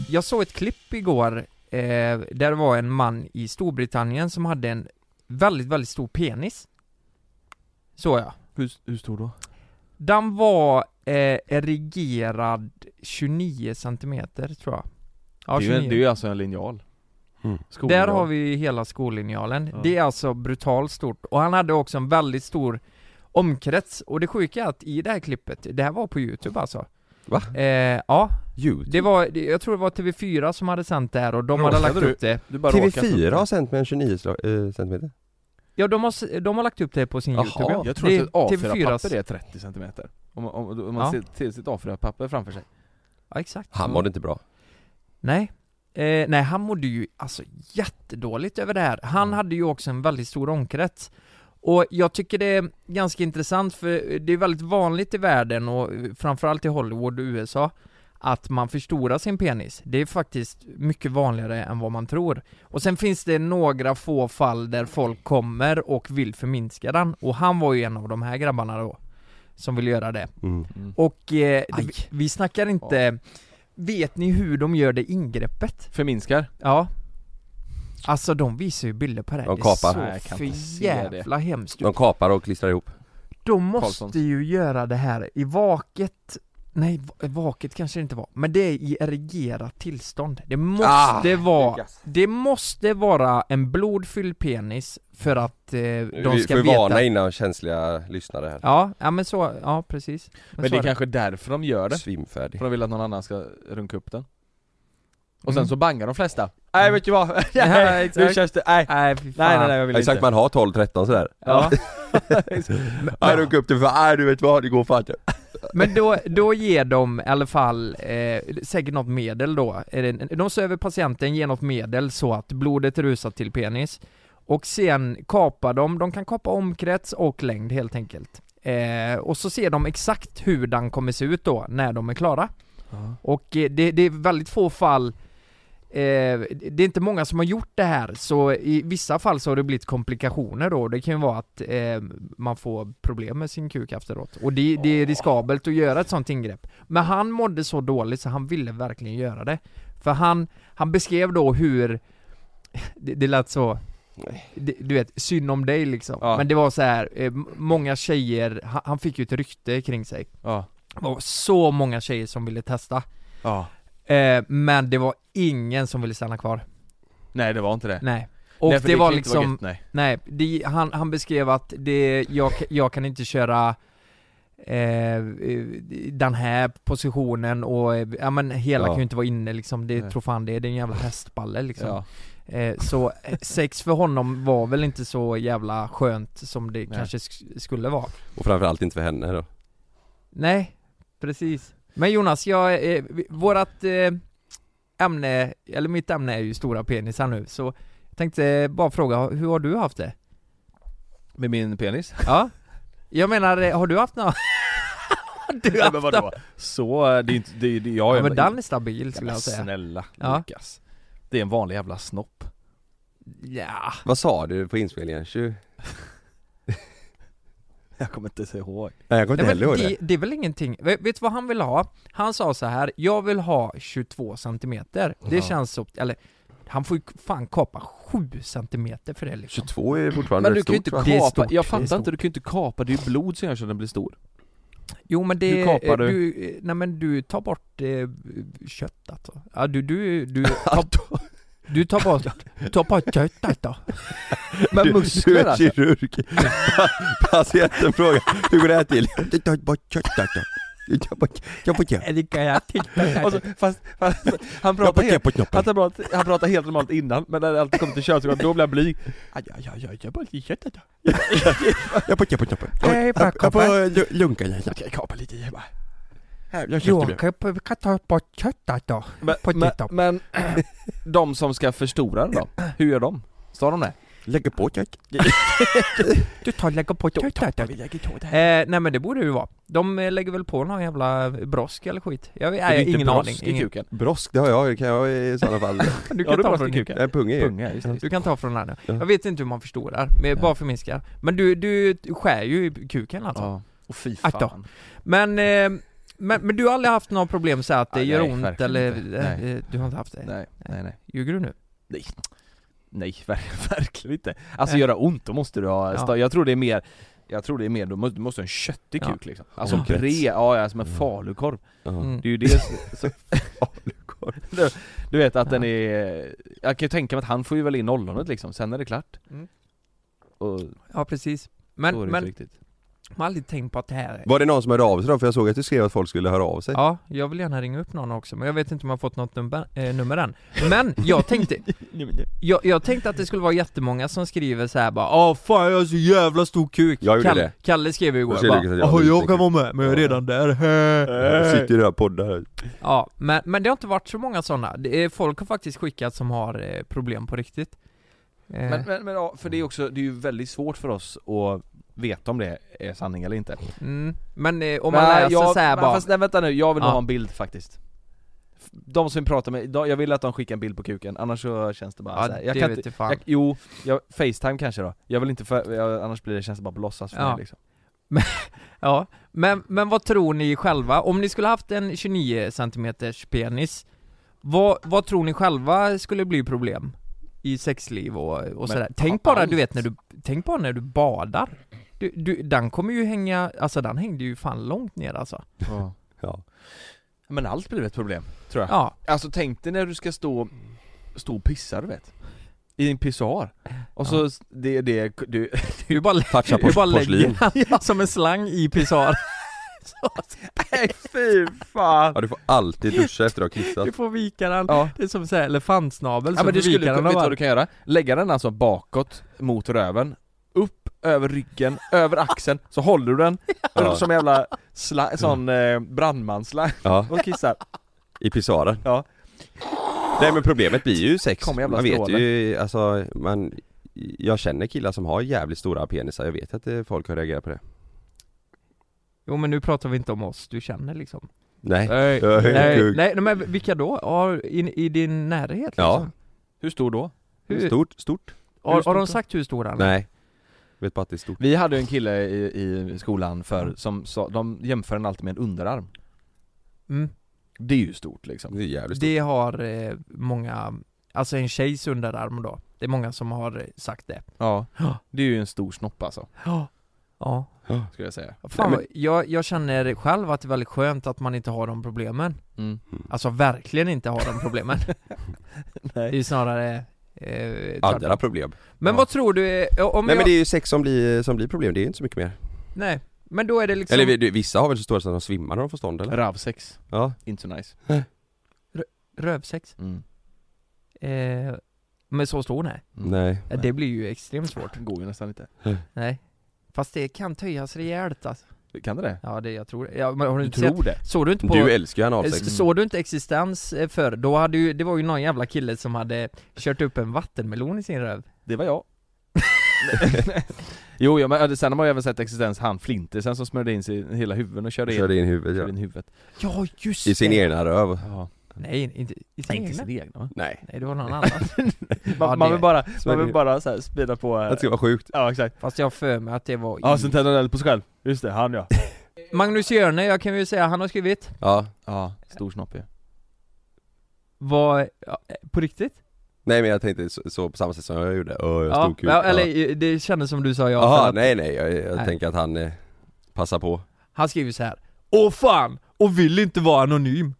S5: Jag såg ett klipp igår eh, där det var en man i Storbritannien som hade en väldigt, väldigt stor penis. Så ja.
S2: Hur, hur stor då?
S5: Den var eh, erigerad 29 centimeter tror jag. Ja,
S2: det, är ju, en- det är ju alltså en linjal
S3: Mm.
S5: där har vi hela skolinjalen.
S2: Ja.
S5: Det är alltså brutalt stort. Och han hade också en väldigt stor omkrets. Och det sjuka är att i det här klippet, det här var på youtube alltså.
S3: Va?
S5: Eh, ja,
S3: YouTube?
S5: det var, det- jag tror det var TV4 som hade sänt det här och de
S2: Råkade
S5: hade lagt
S2: du?
S5: upp det
S2: Du bara råkar
S3: TV4
S2: slå-
S3: har sänt med en 29 slag, eh, centimeter?
S5: Ja de har, s- de har lagt upp det på sin youtube ja.
S2: Jag tror att ett
S5: Det är TV4s.
S2: A4-papper är 30 cm Om, om, om man
S5: Ja.
S2: ser till sitt A4-papper framför sig
S5: Ja exakt
S3: Han
S5: Mm.
S3: mådde inte bra.
S5: Nej. Eh, nej, han mådde ju alltså jättedåligt över det här. Han hade ju också en väldigt stor omkrets. Och jag tycker det är ganska intressant för det är väldigt vanligt i världen och framförallt i Hollywood och USA att man förstorar sin penis. Det är faktiskt mycket vanligare än vad man tror. Och sen finns det några få fall där folk kommer och vill förminska den och han var ju en av de här grabbarna då som ville göra det.
S3: Mm.
S5: Och eh,
S3: Aj.
S5: vi, vi snackar inte Vet ni hur de gör det ingreppet?
S2: Förminskar?
S5: Ja Alltså de visar ju bilder på det här,
S3: De
S5: det är
S3: kapar.
S5: så
S2: Nej, jag kan inte
S5: för
S2: se det.
S5: jävla hemskt
S3: De
S5: ut.
S3: kapar och klistrar ihop.
S5: De måste
S2: Karlssons.
S5: ju göra det här i vaket Nej, va- vaket kanske det inte var, men det är i erigerat tillstånd Det måste vara, det måste vara en blodfylld penis för att eh, de
S3: vi
S5: ska
S3: får ju varna
S5: veta
S3: innan känsliga lyssnare här.
S5: Ja, ja men så, ja precis
S2: Men,
S5: så
S2: det
S5: är
S2: är kanske därför de gör det?
S3: Svimfärdig.
S2: För de vill att någon annan ska runka upp den Och sen
S5: Mm.
S2: så bangar de flesta Nej vet du vad?
S5: Ja,
S2: Nej, nu
S5: exakt.
S2: känns det, nej
S5: Nej, fy
S2: Nej
S5: fan.
S2: nej nej jag vill
S3: Exakt,
S2: inte
S3: man har 12-13 sådär.
S5: Ja.
S3: Nej, runka upp det för nej du vet vad, det går fan inte.
S5: Men då, då ger de i alla fall eh, säkert något medel då. Är det- De söver patienten, ger något medel så att blodet rusar till penis. Och sen kapar de, de kan kapa omkrets och längd helt enkelt. Eh, och så ser de exakt hur den kommer se ut då när de är klara. Och eh, det, det är väldigt få fall Eh, det är inte många som har gjort det här, så i vissa fall så har det blivit komplikationer då. Det kan ju vara att eh, man får problem med sin kuk efteråt. Och det, det är riskabelt att göra ett sånt ingrepp. Men han mådde så dåligt så han ville verkligen göra det. För han, han beskrev då hur, det, det lät så, det, du vet, synd om dig liksom.
S2: Ja.
S5: Men det var så här, eh, m- många tjejer, han, han fick ju ett rykte kring sig.
S2: Ja,
S5: Det var så många tjejer som ville testa.
S2: ja
S5: Eh, men det var ingen som ville stanna kvar.
S2: Nej det var inte det
S5: Nej. Och
S2: Nej,
S5: det,
S2: för
S5: var
S2: kan inte vara
S5: liksom,
S2: gött, nej.
S5: nej, det, han, han beskrev att det, jag, jag kan inte köra eh, eh, den här positionen och, eh, ja men hela
S3: Ja.
S5: kan ju inte vara inne liksom, det
S2: Nej.
S5: tror fan det, är, det är en jävla hästballe liksom.
S2: Ja.
S5: Eh, så eh, sex för honom var väl inte så jävla skönt som det kanske sk- skulle vara.
S3: Och framförallt inte för henne då.
S5: Nej, precis. Men Jonas, jag, eh, vi- vårat eh, ämne, eller mitt ämne är ju stora penisar nu, så jag tänkte eh, bara fråga, hur har du haft det?
S2: Med min penis?
S5: Ja? Jag menar, eh, har du haft något? du
S2: Nej, men vadå? Så, eh, det är inte, det, är- det, jag
S5: Ja,
S2: är
S5: men den är stabil skulle
S2: Men
S5: jag säga.
S2: snälla
S5: Ja.
S2: Lukas Det är en vanlig jävla snopp
S5: Ja.
S3: Vad sa du på inspelningen? 20?
S2: Jag kommer inte se ihåg
S3: Nej jag kommer
S5: Nej,
S3: inte
S5: men
S3: heller ihåg
S5: det,
S3: det.
S5: det är väl ingenting, vet, vet du vad han vill ha? Han sa så här, jag vill ha 22 centimeter, det
S2: Ja.
S5: känns så, eller han får ju fan kapa 7 centimeter för det liksom
S3: 22 är fortfarande
S2: Men du
S3: rätt
S2: kan ju
S3: stort
S2: inte
S3: va?
S5: Det är
S2: kapa,
S5: stort,
S2: jag
S5: det är
S2: fattar inte,
S5: stort.
S2: du kan ju inte kapa, det är ju blod som gör så den blir stor
S5: Jo men det,
S2: Hur kapar du?
S5: eh, nej men du tar bort eh, kött alltså. Ja du, du, du, tar, du tar bort, tar bort alltså. köttet då.
S2: Men
S3: du
S2: muskler
S3: är
S2: alltså?
S3: kirurg. Patienten frågar, hur går det här till? Du tar bort köttet då. Du tar bort- Jag får ge.
S5: Är det kan jag titta
S2: Och så- fast, fast han,
S3: Jag
S2: pratar
S3: får ge
S2: helt,
S3: på
S2: han,
S3: knoppen.
S2: pratar, han pratar helt normalt innan, men när det alltid kommer till könsorgan, då blir han blyg Aj, aj, aj, aj, jag bara lite kött där.
S3: Jag får ge på knoppen.
S5: Hej,
S3: Jag- Jag
S5: pappa.
S3: får lu- lunka dig.
S2: Jag kan kapa lite i bara
S3: Jag köpte det.
S5: Jag kan, kan ta bort köttet då.
S2: men,
S5: På
S2: men,
S5: TikTok.
S2: men de som ska förstora den då, hur gör de? Sa de det?
S3: Lägger på kött.
S5: Du tar lägger på köttet då.
S2: Det
S5: Eh, nej men det borde det ju vara. De eh, lägger väl på någon jävla brosk eller skit. Jag vet, nej, ingen aning.
S2: i
S5: Ingen,
S2: kuken?
S3: Brosk, det har jag, det kan jag i sådana fall.
S5: du
S2: Ja,
S5: kan
S2: du
S5: ta
S2: brast i
S5: från
S2: kuken?
S3: Jag är pung i.
S2: Punga, just det.
S5: du kan ta från den här.
S3: Ja.
S5: Jag vet inte hur man förstorar, men
S2: Ja.
S5: bara förminskar. Men du, du skär ju i kuken alltså.
S2: Ja. Och fy
S5: Akta.
S2: fan
S5: Men, eh, men, men du har aldrig haft några problem så att det
S2: Nej,
S5: gör
S2: nej,
S5: ont
S2: verkligen
S5: eller,
S2: inte.
S5: eh,
S2: Nej.
S5: eh, du har inte haft det?
S2: Nej, nej, nej
S5: Ljuger du nu?
S2: Nej, nej ver- verkligen inte. Alltså
S5: Nej.
S2: göra ont, då måste du ha,
S5: Ja.
S2: sta- jag tror det är mer jag tror det är mer, du måste, du måste ha en köttig
S5: Ja.
S2: kuk liksom. Alltså
S5: Omkrets.
S2: bred, ja ja, som en falukorv.
S5: Mm.
S2: Det är ju det s- så, du, du vet att den är, jag kan ju tänka mig att han får ju väl in nollonet liksom, sen är det klart.
S5: Mm.
S2: Och
S5: Ja precis.
S2: då är
S5: Men,
S2: det
S5: men eh.
S2: inte riktigt.
S5: Man har aldrig tänkt på att det här är...
S3: Var det någon som hörde av sig då? För jag såg att du skrev att folk skulle höra av sig.
S5: Ja, jag vill gärna ringa upp någon också, men jag vet inte om jag har fått något nummer, eh, nummer än Men jag tänkte, jag, jag tänkte att det skulle vara jättemånga som skriver så här bara Åh fan jag har så jävla stor kuk
S3: Jag gjorde det.
S5: Kalle skrev ju
S3: Och
S5: igår
S3: så är det
S5: bara "Ah,
S3: liksom att jag
S5: jag,
S3: hade
S5: jag
S3: inte
S5: kan vara
S3: kul."
S5: med men jag är
S3: Ja.
S5: redan där Eh.
S2: Eh.
S3: Jag sitter ju i den här podden här.
S5: Ja, men, men det har inte varit så många sådana det är, Folk har faktiskt skickat som har eh, problem på riktigt eh,
S2: Men, men, men ja, för det är också, det är ju väldigt svårt för oss att veta om det är sanning eller inte
S5: mm, men eh, om man läser
S2: jag,
S5: så här
S2: men
S5: bara
S2: Fast, nej, vänta nu, jag vill nog
S5: Ja.
S2: ha en bild faktiskt De som pratar med, de, jag vill att de skickar en bild på kuken, annars så känns det bara
S5: Ja,
S2: så här. Jag
S5: det typ-
S2: kan
S5: vet
S2: inte,
S5: jag fan.
S2: jag, Jo, jag, facetime kanske då Jag vill inte, för, jag, annars blir det, känns det bara på låtsas för
S5: Ja.
S2: mig liksom
S5: Ja, men, men vad tror ni själva? Om ni skulle haft en 29 centimeters penis, vad, vad tror ni själva skulle bli problem? I sexliv och, och sådär. Tänk bara, du vet när du, tänk bara när du badar. Du, du, den kommer ju hänga, alltså den hängde ju fan långt ner alltså.
S3: Ja.
S2: Men allt blir ett problem, tror jag
S5: Ja,
S2: Alltså tänk dig när du ska stå, stå och pissa du vet I en pissoar Och så, det, det, du,
S5: du bara,
S3: Toucha
S5: du bara
S3: på porslin.
S5: lägger den som en slang i pissoar.
S2: nej fy fan!
S3: Ja du får alltid duscha efter att ha kissat.
S5: Du får vika den,
S2: Ja.
S5: det är som såhär elefantsnabel
S2: Ja
S5: så
S2: men
S5: du
S2: du
S5: får
S2: skulle,
S5: vika
S2: vet
S5: den
S2: du vad
S5: av
S2: du kan göra? Lägga den alltså bakåt mot röven, upp över ryggen, över axeln, så håller du den
S3: Ja.
S2: som en jävla sla, sån eh, brandmansslang
S3: Ja,
S2: och kissar
S3: i pissoaren.
S2: Ja.
S3: Nej men problemet blir ju sex.
S2: Kom, jävla
S3: man vet
S2: stråle.
S3: ju, alltså man jag känner killar som har jävligt stora penisar, jag vet att eh, folk har reagerat på det.
S5: Jo men nu pratar vi inte om oss, du känner liksom.
S3: Nej.
S5: Nej,
S3: Jag är
S5: nej,
S3: kung.
S5: nej men vilka då? Ja, i, I din närhet liksom?
S3: Ja.
S2: Hur stor då?
S5: Hur,
S3: Stort, stort?
S5: har, har de
S2: stort då?
S5: sagt hur stor den är?
S3: Nej. Vet bara att det är stort.
S2: Vi hade ju en kille i, i skolan för som sa, de jämför den alltid med en underarm
S5: Mm.
S2: Det är ju stort liksom
S3: Det är jävligt stort.
S5: Det har eh, många, alltså en tjejs underarm då. Det är många som har eh, sagt det.
S2: Ja,
S5: Ja.
S2: det är ju en stor snopp alltså,
S5: Ja. Ja.
S2: skulle jag säga
S5: Fan, jag, jag känner själv att det är väldigt skönt att man inte har de problemen.
S2: mm.
S5: Alltså verkligen inte har de problemen. Det är ju snarare eh, tvärtom.
S3: Andra problem.
S5: Men
S2: Ja.
S5: vad tror du, eh, om
S3: Nej
S5: jag...
S3: men det är ju sex som blir, som blir problem, det är ju inte så mycket mer.
S5: Nej, men då är det liksom...
S3: Eller vi- det- vissa har väl så stora så att de svimmar när de får stånd eller?
S2: Ravsex,
S3: Ja.
S2: inte så nice
S5: Rövsex?
S2: mm.
S5: Eh, men så stor nej.
S2: Mm.
S3: Nej.
S5: Eh, Det blir ju extremt svårt.
S2: Går ju nästan inte
S5: Nej. Fast det kan töjas rejält alltså.
S2: Kan det det?
S5: Ja det, jag tror det. Ja, men har du
S2: Du
S5: inte
S2: tror det?
S5: sett? Såg du inte på...
S3: Du älskar ju
S5: Eh,
S3: analsex.
S5: Såg du inte existens eh, förr? Då hade ju, det var ju någon jävla kille som hade kört upp en vattenmelon i sin röv
S2: Det var jag Jo, ja, men ja, det- sen har man ju även sett existens han flintisen som smörjde in sig i hela huvudet och körde in,
S3: Körde in huvudet
S2: körde
S3: ja.
S2: in huvudet
S5: Ja just
S3: I sin
S5: det!
S3: egna röv.
S2: ja.
S5: Nej, inte i sin
S2: Inte
S5: egna
S2: sin egna va?
S3: Nej.
S5: Nej det var någon annan
S2: Man,
S5: Ja,
S2: man
S5: det-
S2: vill bara, man
S3: det-
S2: vill bara så här spela på
S5: Äh.
S2: eh,
S3: Det ska vara sjukt.
S2: Ja exakt
S5: Fast jag har för mig att det var i...
S2: Ja, sen tände han eld på sig själv Just det, han ja
S5: Magnus Hjörne, jag kan ju säga, han har skrivit
S3: Ja.
S2: Ja, stor snopp ju
S5: Vad, ja, eh, på riktigt?
S3: Nej men jag tänkte så, så på samma sätt som jag gjorde, öh jag
S5: Ja,
S3: stod kul.
S5: ja, eller eh, det kändes som du sa ja för
S3: Jaha,
S5: att-
S3: nej nej, jag, jag
S5: Nej.
S3: tänker att han eh, passar på.
S5: Han skriver så här. Åh fan! Och vill inte vara anonym!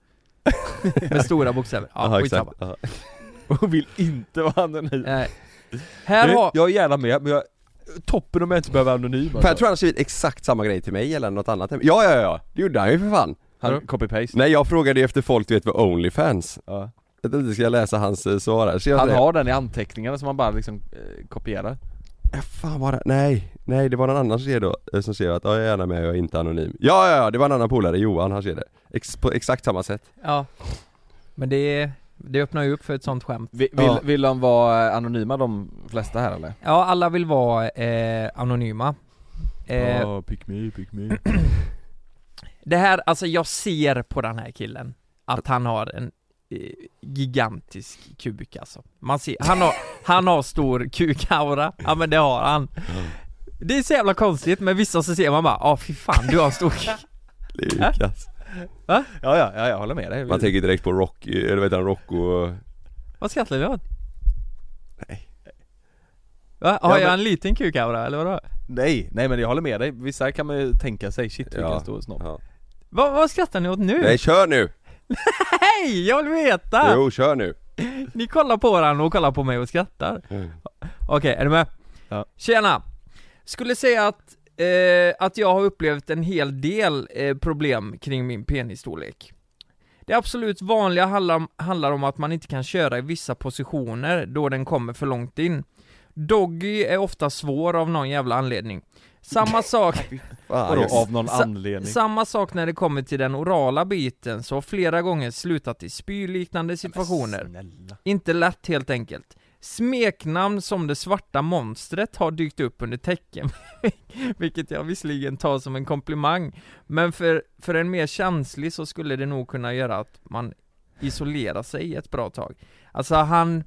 S5: Med stora bokstäver, ja
S3: Jaha,
S5: skitsamma
S3: Ja.
S2: Och vill inte vara anonym
S5: eh, Här har...
S2: Jag är gärna med, men jag Toppen om jag inte behöver vara anonym alltså.
S3: För jag tror han har skrivit exakt samma grej till mig eller något annat. Ja, ja, ja, det gjorde han ju för fan.
S2: Han copy-paste
S3: Nej jag frågade ju efter folk du vet vad Onlyfans.
S2: ja.
S3: Jag tänkte ska jag läsa hans eh, svar här? Ser jag
S2: Han
S3: det?
S2: har den i anteckningarna som han bara liksom eh, kopierar
S3: Ja, Äh, fan var det? Nej, nej det var någon annan som skrev då, eh, som skrev att ja, jag är gärna med, jag är inte anonym. Ja, ja, ja, det var en annan polare, Johan, han skrev det. Ex, på exakt samma sätt.
S5: Ja Men det, det öppnar ju upp för ett sånt skämt
S2: Vill,
S3: Ja.
S2: vill de vara eh, anonyma de flesta här eller?
S5: Ja, alla vill vara eh, anonyma eh,
S2: Ja, pick me, pick me
S5: Det här, alltså jag ser på den här killen Att han har en eh, gigantisk kuk alltså Man ser, han har, han har stor kukaura Ja men det har han
S3: Mm.
S5: Det är så jävla konstigt, men vissa så ser man bara ah fy fan du har stor kuk
S3: Lukas.
S2: Ja, ja, ja, jag håller med dig.
S3: Man tänker direkt på Rock, eh, eller vet han, Rocco... eh,
S5: Vad skrattar du åt?
S3: Nej.
S5: Va? Har
S2: Ja,
S5: jag
S2: men-
S5: en liten kukaura eller vadå?
S2: Nej, nej men jag håller med dig. Vissa kan man ju tänka sig, shit vilken
S3: Ja.
S2: stor snopp.
S3: Ja.
S5: Va, vad skrattar ni åt nu?
S3: Nej, kör nu!
S5: Hej! Jag vill veta!
S3: Jo, kör nu!
S5: Ni kollar på varandra och kollar på mig och skrattar. Okej, är du med?
S2: Ja.
S5: Tjena! Skulle säga att eh, att jag har upplevt en hel del eh, problem kring min penisstorlek. Det absolut vanliga handlar om, handlar om att man inte kan köra i vissa positioner då den kommer för långt in. Doggy är ofta svår av någon jävla anledning. Samma sak
S3: Fan,
S2: Vadå,
S3: Ah, jag-
S2: av någon
S5: Sa-
S2: anledning?
S5: Samma sak när det kommer till den orala biten, så har flera gånger slutat i spyliknande situationer.
S2: Snälla.
S5: Inte lätt helt enkelt. Smeknamn som det svarta monstret har dykt upp under tecken, vilket jag visserligen tar som en komplimang, men för, för en mer känslig så skulle det nog kunna göra att man isolerar sig ett bra tag. Alltså han...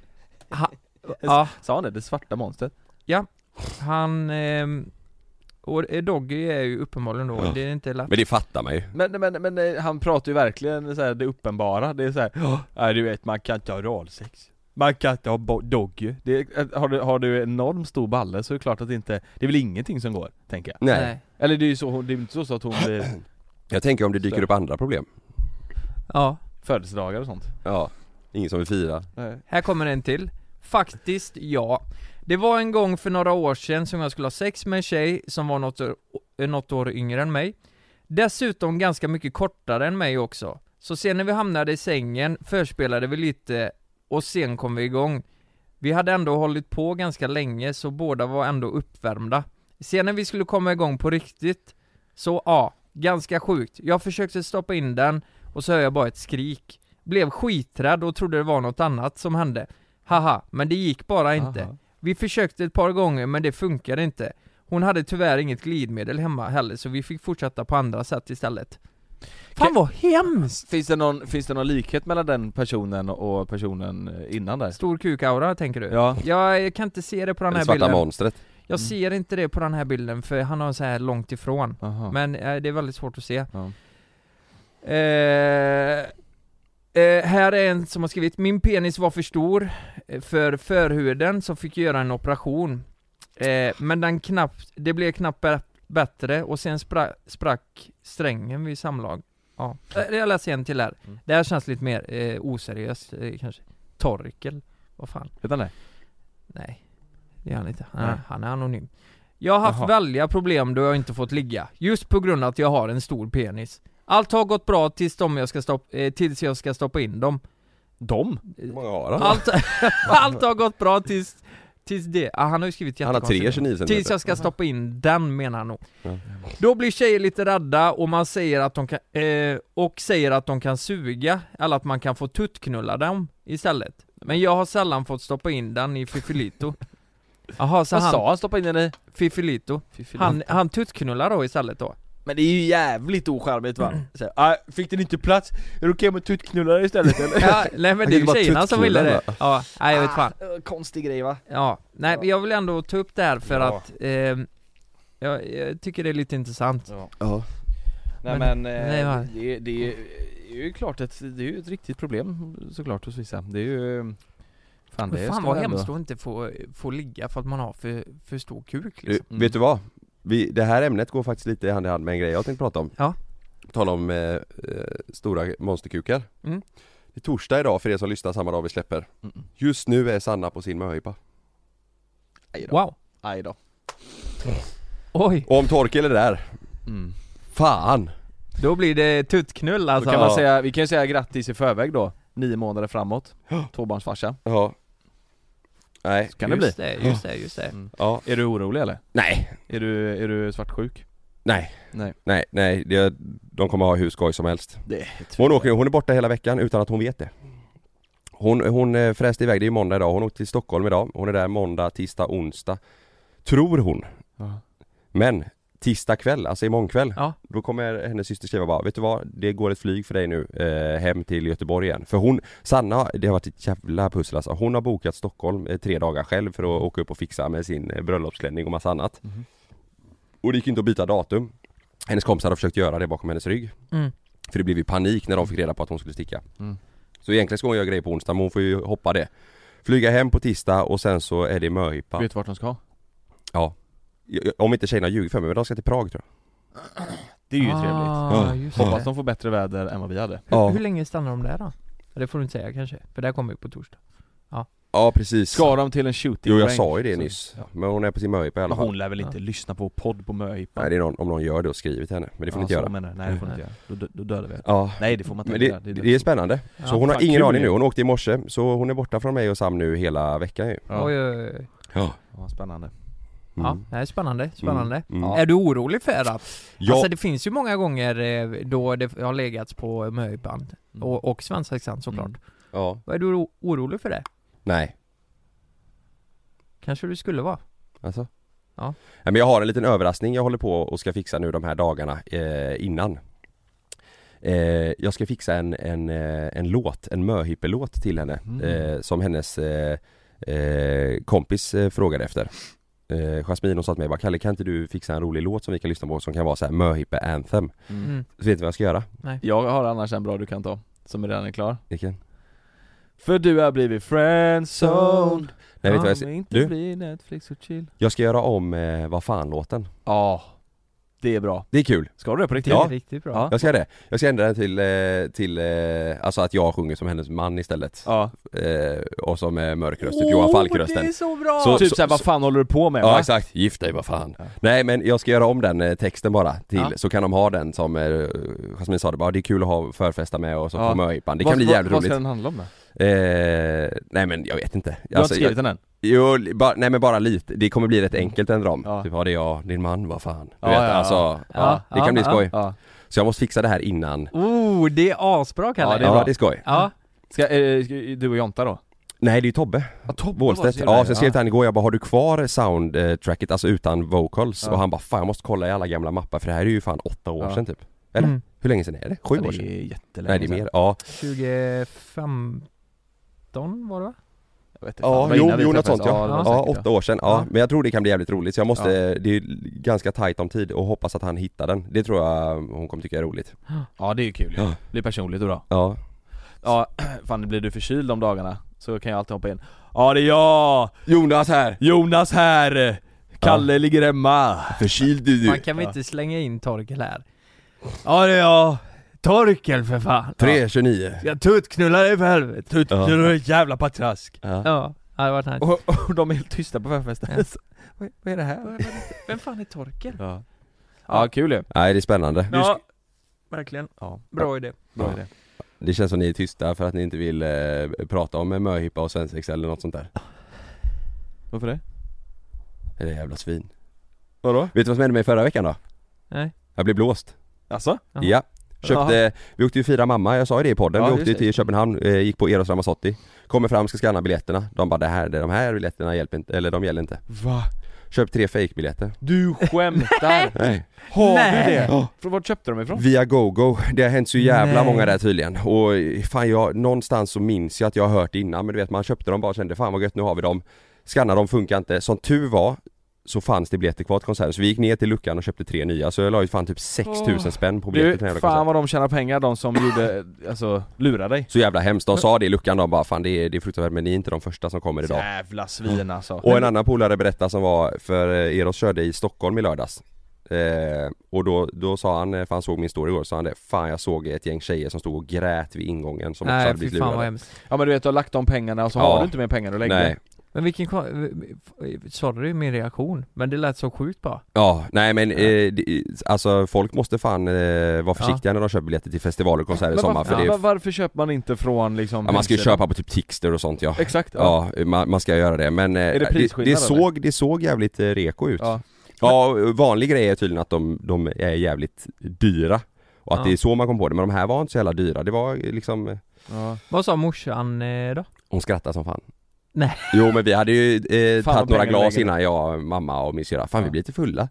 S5: ha- ja,
S2: Sa han det? Det svarta monstret?
S5: han... ehm, och eh, Doggy är ju uppenbarligen då,
S3: Ja.
S5: det är inte lätt.
S3: Men det fattar man ju
S2: Men, men, men eh, han pratar ju verkligen så här, det uppenbara, det är såhär Ja du vet, man kan inte ha oralsex Man kan inte ha bo- doggy det, är- eh, har, du, har du enormt stor balle så är det klart att det inte Det är väl ingenting som går, tänker jag
S3: Nej,
S2: Eller det är ju så, hon- det är väl inte så, så att hon blir
S3: jag tänker om det dyker upp andra problem
S5: Ja.
S2: födelsedagar och sånt
S3: Ja, ingen som vill fira
S5: Här kommer en till. Faktiskt ja. Det var en gång för några år sedan som jag skulle ha sex med en tjej som var något, år- eh, något år yngre än mig. Dessutom ganska mycket kortare än mig också. Så sen när vi hamnade i sängen förspelade vi lite och sen kom vi igång. Vi hade ändå hållit på ganska länge så båda var ändå uppvärmda. Sen när vi skulle komma igång på riktigt, så ja, ganska sjukt. Jag försökte stoppa in den och så hör jag bara ett skrik. Blev skiträdd och trodde det var något annat som hände. Haha, men det gick bara inte.
S2: Aha.
S5: Vi försökte ett par gånger men det funkade inte. Hon hade tyvärr inget glidmedel hemma heller så vi fick fortsätta på andra sätt istället. Fan
S2: Kan-
S5: vad hemskt!
S2: Finns det någon, finns det någon likhet mellan den personen och personen eh, innan där?
S5: Stor kukaura tänker du?
S2: Ja
S5: Jag kan inte se det på den
S3: Det
S5: här
S3: svarta
S5: bilden.
S3: monstret
S5: Jag
S2: Mm.
S5: ser inte det på den här bilden för han har så här långt ifrån.
S2: Aha.
S5: Men eh, det är väldigt svårt att se.
S2: Ja.
S5: Eh, eh, här är en som har skrivit, min penis var för stor eh, för förhuden så fick jag göra en operation. Eh, men den knappt, det blev knappt bä- bättre och sen spra- sprack strängen vid samlag. Ja. Eh, Jag läser en till här.
S2: Mm.
S5: Det här känns lite mer eh, oseriöst eh, kanske. Torkel, vad fan.
S2: Vet han det?
S5: Nej, det är han inte. Han,
S2: Nej.
S5: han är anonym. Jag har haft
S2: Jaha.
S5: väldiga problem då jag inte fått ligga, just på grund av att jag har en stor penis. Allt har gått bra tills, de jag, ska stoppa, eh, tills jag ska stoppa in dem.
S2: De?
S3: Hur många har han?
S5: Allt, allt har gått bra tills, tills det. Ah, han har ju skrivit
S3: Han har
S5: jättekonstigt.
S3: 3 29
S5: Tills
S3: centimeter
S5: jag ska stoppa in den menar han nog.
S3: Ja.
S5: Då blir tjejer lite rädda och man säger att de kan, eh, och säger att de kan suga, eller att man kan få tuttknulla dem istället. Men jag har sällan fått stoppa in den i fiffilito. Jaha, så
S2: Vad
S5: han,
S2: sa han? Stoppa in den i?
S5: fiffilito. Han, han tuttknullar då istället då?
S2: Men det är ju jävligt ocharmigt va?
S5: Mm.
S2: Så här, "Ah, fick den inte plats? Är det okej om jag tuttknullar istället eller?
S5: Ja, nej men det är
S3: kan
S5: ju
S3: bara
S5: tjejerna som ville det.
S3: tuttknulla.
S5: Ja, nej jag vet fan.
S2: Ah, Konstig grej va?
S5: Ja, nej men jag vill ändå ta upp det här för
S2: Ja.
S5: att eh, jag, jag tycker det är lite intressant.
S3: Ja,
S2: Nej men,
S5: Men-
S2: eh,
S5: nej, va?
S2: det, det, är ju- det är ju klart ett, det är ju ett riktigt problem såklart hos vissa Det är ju... Fan det
S5: Men
S2: ska
S5: fan vad
S2: man ändå-
S5: hemskt att inte få, få ligga för att man har för, för stor kuk
S3: du,
S5: liksom.
S2: Mm.
S3: vet du vad? Vi, det här ämnet går faktiskt lite hand i hand med en grej jag tänkte prata om
S5: Ja.
S3: Tala om eh, eh, stora monsterkukar
S5: Mm.
S3: Det är torsdag idag för er som lyssnar samma dag vi släpper
S2: Mm.
S3: Just nu är Sanna på sin möhippa
S2: Aj då.
S5: Wow!
S2: Aj då.
S5: Oj!
S3: Och om Torkel är där,
S2: Mm.
S3: fan!
S5: Då blir det tuttknull
S2: Då
S5: alltså.
S2: kan man
S3: Ja.
S2: säga, vi kan ju säga grattis i förväg då Nio månader framåt Tvåbarnsfarsa
S3: Ja Nej,
S2: Så kan det bli
S5: Just det, just det, just det.
S3: ja,
S2: Är du orolig eller?
S3: nej,
S2: Är du, är du svartsjuk?
S3: nej
S2: Nej.
S3: Nej, nej, det, de kommer ha hur skoj som helst
S2: Det
S3: Hon åker hon är borta hela veckan utan att hon vet det. Hon, hon eh, fräste iväg, det är ju måndag idag, hon åkte till Stockholm idag. Hon är där måndag, tisdag, onsdag. Tror hon.
S2: Ja.
S3: Men tisdag kväll, alltså imorgon kväll.
S5: Ja.
S3: Då kommer hennes syster skriva bara, vet du vad? Det går ett flyg för dig nu eh, hem till Göteborg igen. För hon, Sanna, det har varit ett jävla pussel alltså. Hon har bokat Stockholm eh, tre dagar själv för att åka upp och fixa med sin eh, bröllopsklänning och massa annat.
S2: Mhm.
S3: Och det gick inte att byta datum. Hennes kompisar har försökt göra det bakom hennes rygg.
S5: Mm.
S3: För det blev ju panik när de fick reda på att hon skulle sticka
S2: Mm.
S3: Så egentligen ska hon göra grejer på onsdag men hon får ju hoppa det Flyga hem på tisdag och sen så är det möhippa
S2: Vet du vart de ska?
S3: Jag- jag- Om inte tjejerna ljuger för mig men de ska till Prag tror jag
S2: Det är ju trevligt
S5: ah, just det.
S2: Hoppas de får bättre väder än vad vi hade
S5: Hur länge stannar de där då? Ja, Det får du inte säga kanske, för det här kommer ju på torsdag. Ja.
S3: Ja precis
S2: Ska de till en shooting
S3: Jo jag
S2: range?
S3: sa ju det
S2: Så-
S3: nyss,
S2: Ja.
S3: men hon är på sin möhippa i alla
S2: Men
S3: fall
S2: hon lär väl inte lyssna på podd på möhippan?
S3: Nej det är någon, om någon gör det och skriver till henne, men det får ni inte
S2: så
S3: göra
S2: menar jag. Nej det får ni inte göra, då, dö- då dödar vi
S3: Ja
S2: Nej det får man inte
S3: men
S2: göra
S3: det, det är spännande,
S5: Ja,
S3: så hon har
S2: fan,
S3: ingen
S2: kul
S3: aning
S2: ju.
S3: nu, hon åkte i morse så hon är borta från mig och Sam nu hela veckan ju
S2: Ja.
S5: Oj, oj, oj.
S2: Ja, spännande
S5: Ja,
S3: Mm.
S5: det är spännande, spännande.
S3: Mm.
S5: Är du orolig för att
S3: Ja,
S5: Alltså det finns ju många gånger eh, då det har legats på möhippan och, och svensaxan såklart.
S2: Mm.
S3: ja,
S5: Vad är du oro- orolig för det?
S3: nej
S5: Kanske du skulle vara?
S3: alltså
S5: Ja.
S3: Nej, men jag har en liten överraskning jag håller på och ska fixa nu de här dagarna eh, innan eh, Jag ska fixa en, en, eh, en låt, en möhippelåt till henne
S2: Mm.
S3: eh, Som hennes eh, eh, kompis eh, frågade efter eh, Jasmine hon sa till mig bara, Kalle kan inte du fixa en rolig låt som vi kan lyssna på som kan vara så här möhippe anthem?
S5: Mm.
S3: Så vet du vad jag ska göra?
S2: Jag har annars en bra du kan ta, som redan är klar
S3: Vilken?
S2: För du har blivit friendzone
S3: Nej vet du vad jag
S2: Om
S3: ska,
S2: inte
S3: du?
S2: blir Netflix och chill
S3: jag ska göra om eh, vad fan-låten
S2: Ja, det är bra
S3: Det är kul!
S2: Ska du det på riktigt?
S3: Ja.
S5: riktigt bra.
S2: Ja.
S3: Jag ska göra det, jag ska ändra den till, eh, till eh, alltså att jag sjunger som hennes man istället
S2: ja.
S3: eh, Och som är mörk röst, typ Johan Falk-rösten
S5: det är så bra!
S3: Så-
S2: typ såhär, vad fan håller du på med?
S3: Ja
S2: va?
S3: exakt, gift dig vad fan.
S2: Ja.
S3: Nej men jag ska göra om den eh, texten bara till,
S5: Ja.
S3: så kan de ha den som eh, Jasmin sa det bara, det är kul att ha förfesta med och så
S2: Ja.
S3: på möhippan. Det
S2: Vad-
S3: kan bli
S2: vad-
S3: jävligt
S2: Vad
S3: roligt.
S2: ska den handla om då?
S3: Eh, nej men jag vet inte. Alltså,
S2: Du har inte skrivit
S3: jag,
S2: den än?
S3: jo, li- bara, nej men bara lite, det kommer bli rätt enkelt en ram.
S2: Ja.
S3: Typ, ja det är jag, din man, vad fan. Du
S2: Ja,
S3: vet,
S2: ja, ja.
S3: alltså, ja, det kan
S5: ja,
S3: bli
S5: ja.
S3: skoj.
S2: Ja,
S3: Så jag måste fixa det här innan.
S5: Oh, det är asbra Kalle!
S2: Ja, det är
S3: ja
S2: bra.
S3: det är skoj.
S5: Ja,
S2: Ska, eh, ska du och Jonta då?
S3: Nej det är ju Tobbe,
S2: Ja, Tobbe
S3: Wåhlstedt. Ja, så jag skrev till han igår, jag bara har du kvar soundtracket, alltså utan vocals?
S2: Ja.
S3: Och han bara fan jag måste kolla i alla gamla mappar för det här är ju fan åtta år
S2: Ja.
S3: sedan typ. Eller?
S5: Mm.
S3: Hur länge sedan är det? Sju år
S2: Ja,
S3: sedan?
S2: det är jättelänge
S3: Nej det är mer, ja.
S5: 2015 var det va?
S2: Jag vet inte fan,
S3: Ja,
S2: det var
S3: jo,
S2: innan vi
S3: jo något
S2: träffades.
S3: sånt ja.
S2: det var
S3: Ja,
S2: säkert,
S3: åtta år sedan. Ja.
S5: Ja.
S3: men jag tror det kan bli jävligt roligt så jag måste, det är ganska tajt om tid och hoppas att han hittar den. Det tror jag hon kommer tycka är roligt.
S2: Ja det är ju kul ju.
S3: Ja.
S2: Det blir personligt och bra.
S3: Ja.
S2: Ja, fan blir du förkyld de dagarna så kan jag alltid hoppa in Ja det är jag!
S3: Jonas här!
S2: Jonas här! Kalle ligger hemma!
S3: Förkyld du
S5: Man kan väl inte slänga in Torkel här? Ja det är jag! Torkel för fan!
S3: 3.29.
S5: Ja. Jag tuttknullar dig för helvete!
S2: Tut,
S3: Ja.
S2: ja. du är ett jävla patrask!
S3: Ja.
S5: Ja, det hade varit nice.
S2: Och, och de är helt tysta på förfesten
S5: Ja.
S2: Så, vad, vad är det här?
S5: Vem fan är Torkel?
S2: Ja, ja kul ju!
S3: Nej det är spännande.
S5: Ja, verkligen.
S2: Ja,
S5: Bra idé.
S2: bra
S3: Ja.
S2: idé
S3: Det känns som ni är tysta för att ni inte vill eh, prata om möhippa och svensexa eller något sånt där.
S2: Varför det?
S3: Det är jävla svin.
S2: Vadå?
S3: Vet du vad som hände mig förra veckan då?
S5: Nej.
S3: Jag blev blåst.
S2: Alltså?
S5: Jaha.
S3: Ja. Köpte, vi åkte ju fira mamma, jag sa ju det i podden,
S2: Ja,
S3: vi
S2: just
S3: åkte ju
S2: det.
S3: till Köpenhamn, eh, gick på Eros Ramazzotti Kommer fram, ska scanna biljetterna, de bara det här, det- de här biljetterna hjälper inte, eller de gäller inte
S2: Va?
S3: Köp tre fake-biljetter
S2: Du skämtar!
S3: Nej.
S2: Har du
S5: Nej.
S2: det?
S3: Ja.
S2: Från vart köpte de ifrån?
S3: Via GoGo, det har hänt så jävla
S5: Nej.
S3: många där tydligen och fan jag, någonstans så minns jag att jag har hört det innan men du vet man köpte dem bara och kände fan vad gött nu har vi dem Scanna dem funkar inte, som tur var så fanns det biljetter kvar till konserten så vi gick ner till luckan och köpte tre nya så jag la ju fan typ 6000 spänn på biljetter
S2: Du,
S3: till den jävla konserten.
S2: fan vad de tjänar pengar de som gjorde, alltså, lurade dig
S3: Så jävla hemskt, de sa det i luckan de bara fan det är, det är fruktansvärt men ni är inte de första som kommer idag
S2: Jävla svin alltså
S3: Och en annan polare berättade som var, för eh, Eros körde i Stockholm i lördags eh, Och då, då sa han, eh, för han såg min story igår, så sa han det Fan jag såg ett gäng tjejer som stod och grät vid ingången som också
S5: Nej
S3: hade
S5: fy
S3: blivit
S5: fan vad
S3: lurade
S5: hemskt.
S2: Ja men du vet du har lagt de pengarna och så
S3: Ja.
S2: har du inte mer pengar att lägga
S3: Nej,
S5: Men vilken kon- Sorry min reaktion, men det lät så sjukt bara.
S3: ja, nej men eh, det, alltså folk måste fan eh, vara
S5: Ja.
S3: försiktiga när de köper biljetter till festivaler och konserter i
S2: Men
S3: sommar
S2: varför,
S3: för det
S2: va-
S3: är,
S2: varför köper man inte från liksom
S3: ja, man ska ju
S2: hemsidan?
S3: köpa på typ Tixter och sånt ja
S2: Exakt, ja.
S3: Ja, man, man ska göra det men eh,
S2: det
S3: det,
S2: prisskillnad, eller?
S3: såg, det såg jävligt eh, reko ut
S2: ja.
S3: Ja, vanlig grej är tydligen att de, de är jävligt dyra och att
S5: Ja.
S3: det är så man kom på det, men de här var inte så jävla dyra, det var liksom
S2: ja.
S5: Vad sa morsan eh, då?
S3: Hon skrattade som fan
S5: Nej.
S3: Jo men vi hade ju eh,
S2: Fan, vad
S3: tagit några
S2: pengar
S3: glas
S2: lägger
S3: innan jag, mamma och min syrra, fan
S2: Ja.
S3: vi blir lite fulla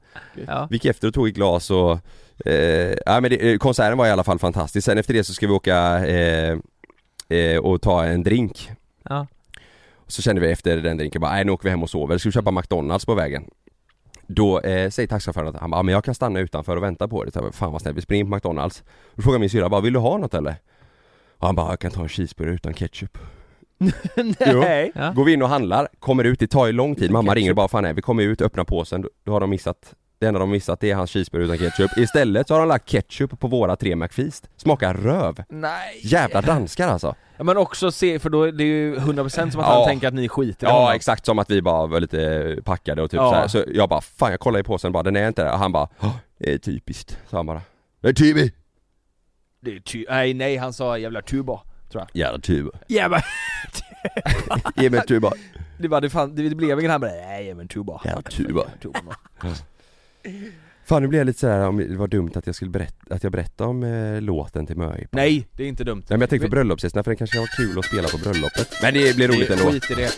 S5: Ja.
S3: Vi gick efter och tog ett glas och eh, ja, men det, eh, konserten var i alla fall fantastisk, sen efter det så ska vi åka eh, eh, och ta en drink
S5: Ja.
S3: Så kände vi efter den drinken bara, nej nu åker vi hem och sover, ska vi köpa McDonalds på vägen? Då eh, säger taxichauffören att han bara, "Ja, men jag kan stanna utanför och vänta på det. Så jag bara, Fan vad snällt, vi springer in på McDonalds. Då frågar min syrra bara, vill du ha något eller? Och han bara, jag kan ta en cheeseburgare utan ketchup.
S2: Nej!
S5: Ja.
S3: Går vi in och handlar, kommer ut, det tar ju lång tid. Mamma
S2: Ketchup.
S3: ringer och bara, fan nej, vi kommer ut, öppnar påsen, då, då har de missat Det enda de missat det är hans cheeseburgare utan ketchup. Istället så har de lagt ketchup på våra tre McFeast. Smakar röv!
S2: Nej!
S3: Jävla danskar alltså!
S2: Ja, men också se, för då är det ju 100% som att
S3: Ja.
S2: han tänker att ni skiter i
S3: Ja
S2: honom.
S3: exakt som att vi bara var lite packade och typ
S2: Ja.
S3: så, här. så jag bara fan jag kollar i påsen bara den är inte där och han bara "Åh, det är typiskt sa han bara Det är typiskt!
S2: Det är ty- nej, nej, han sa jävla tuba. Tror jag.
S3: Jävla tuba,
S5: Jävlar!
S3: ge mig en tuba,
S2: Det, bara, det, fan, det, det blev ingen, han bara nej men tuba.
S3: jävla tuba
S2: tuba man.
S3: Fan nu blev jag lite sådär om det var dumt att jag skulle berätta, att jag berättade om eh, låten till Möhippa Nej
S2: nej, det är inte dumt.
S3: men jag tänkte på bröllopsgästerna för den kanske var kul att spela på bröllopet Men det blir roligt ändå
S2: Skit i det.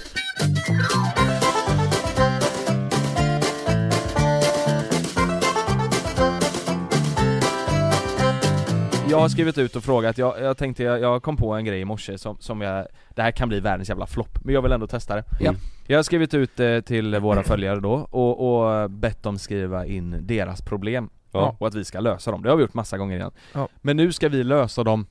S2: Jag har skrivit ut och frågat, jag, jag tänkte, jag, jag kom på en grej i morse som, som jag, det här kan bli världens jävla flopp, men jag vill ändå testa det.
S3: Ja.
S2: Jag har skrivit ut eh, till våra följare då, och, och bett dem skriva in deras problem,
S3: Ja.
S2: och att vi ska lösa dem. Det har vi gjort massa gånger innan.
S5: Ja.
S2: Men nu ska vi lösa dem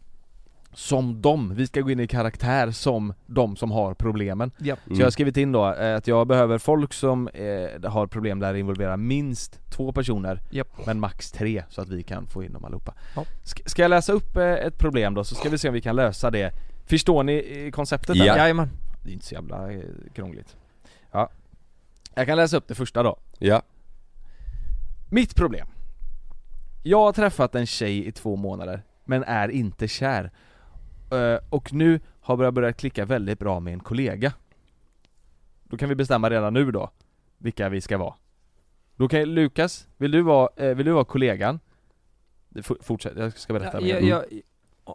S2: som dem, vi ska gå in i karaktär som de som har problemen.
S5: Ja.
S2: Så jag har skrivit in då eh, att jag behöver folk som eh, har problem där det involverar minst två personer
S5: Japp.
S2: men max tre så att vi kan få in dem allihopa.
S5: Ja.
S2: Sk- ska jag läsa upp eh, ett problem då så ska vi se om vi kan lösa det. Förstår ni eh, konceptet?
S3: Ja.
S2: eller?
S5: Jajamän.
S2: Det är inte så jävla eh, krångligt. Ja. Jag kan läsa upp det första då.
S3: Ja,
S2: Mitt problem. Jag har träffat en tjej i två månader, men är inte kär. Eh, Och nu har jag börjat klicka väldigt bra med en kollega. Då kan vi bestämma redan nu då, vilka vi ska vara. Då kan Lukas, vill du vara, eh, vill du vara kollegan? Det for- Fortsätt, jag ska berätta
S5: Ja,
S2: mer.
S5: jag, jag,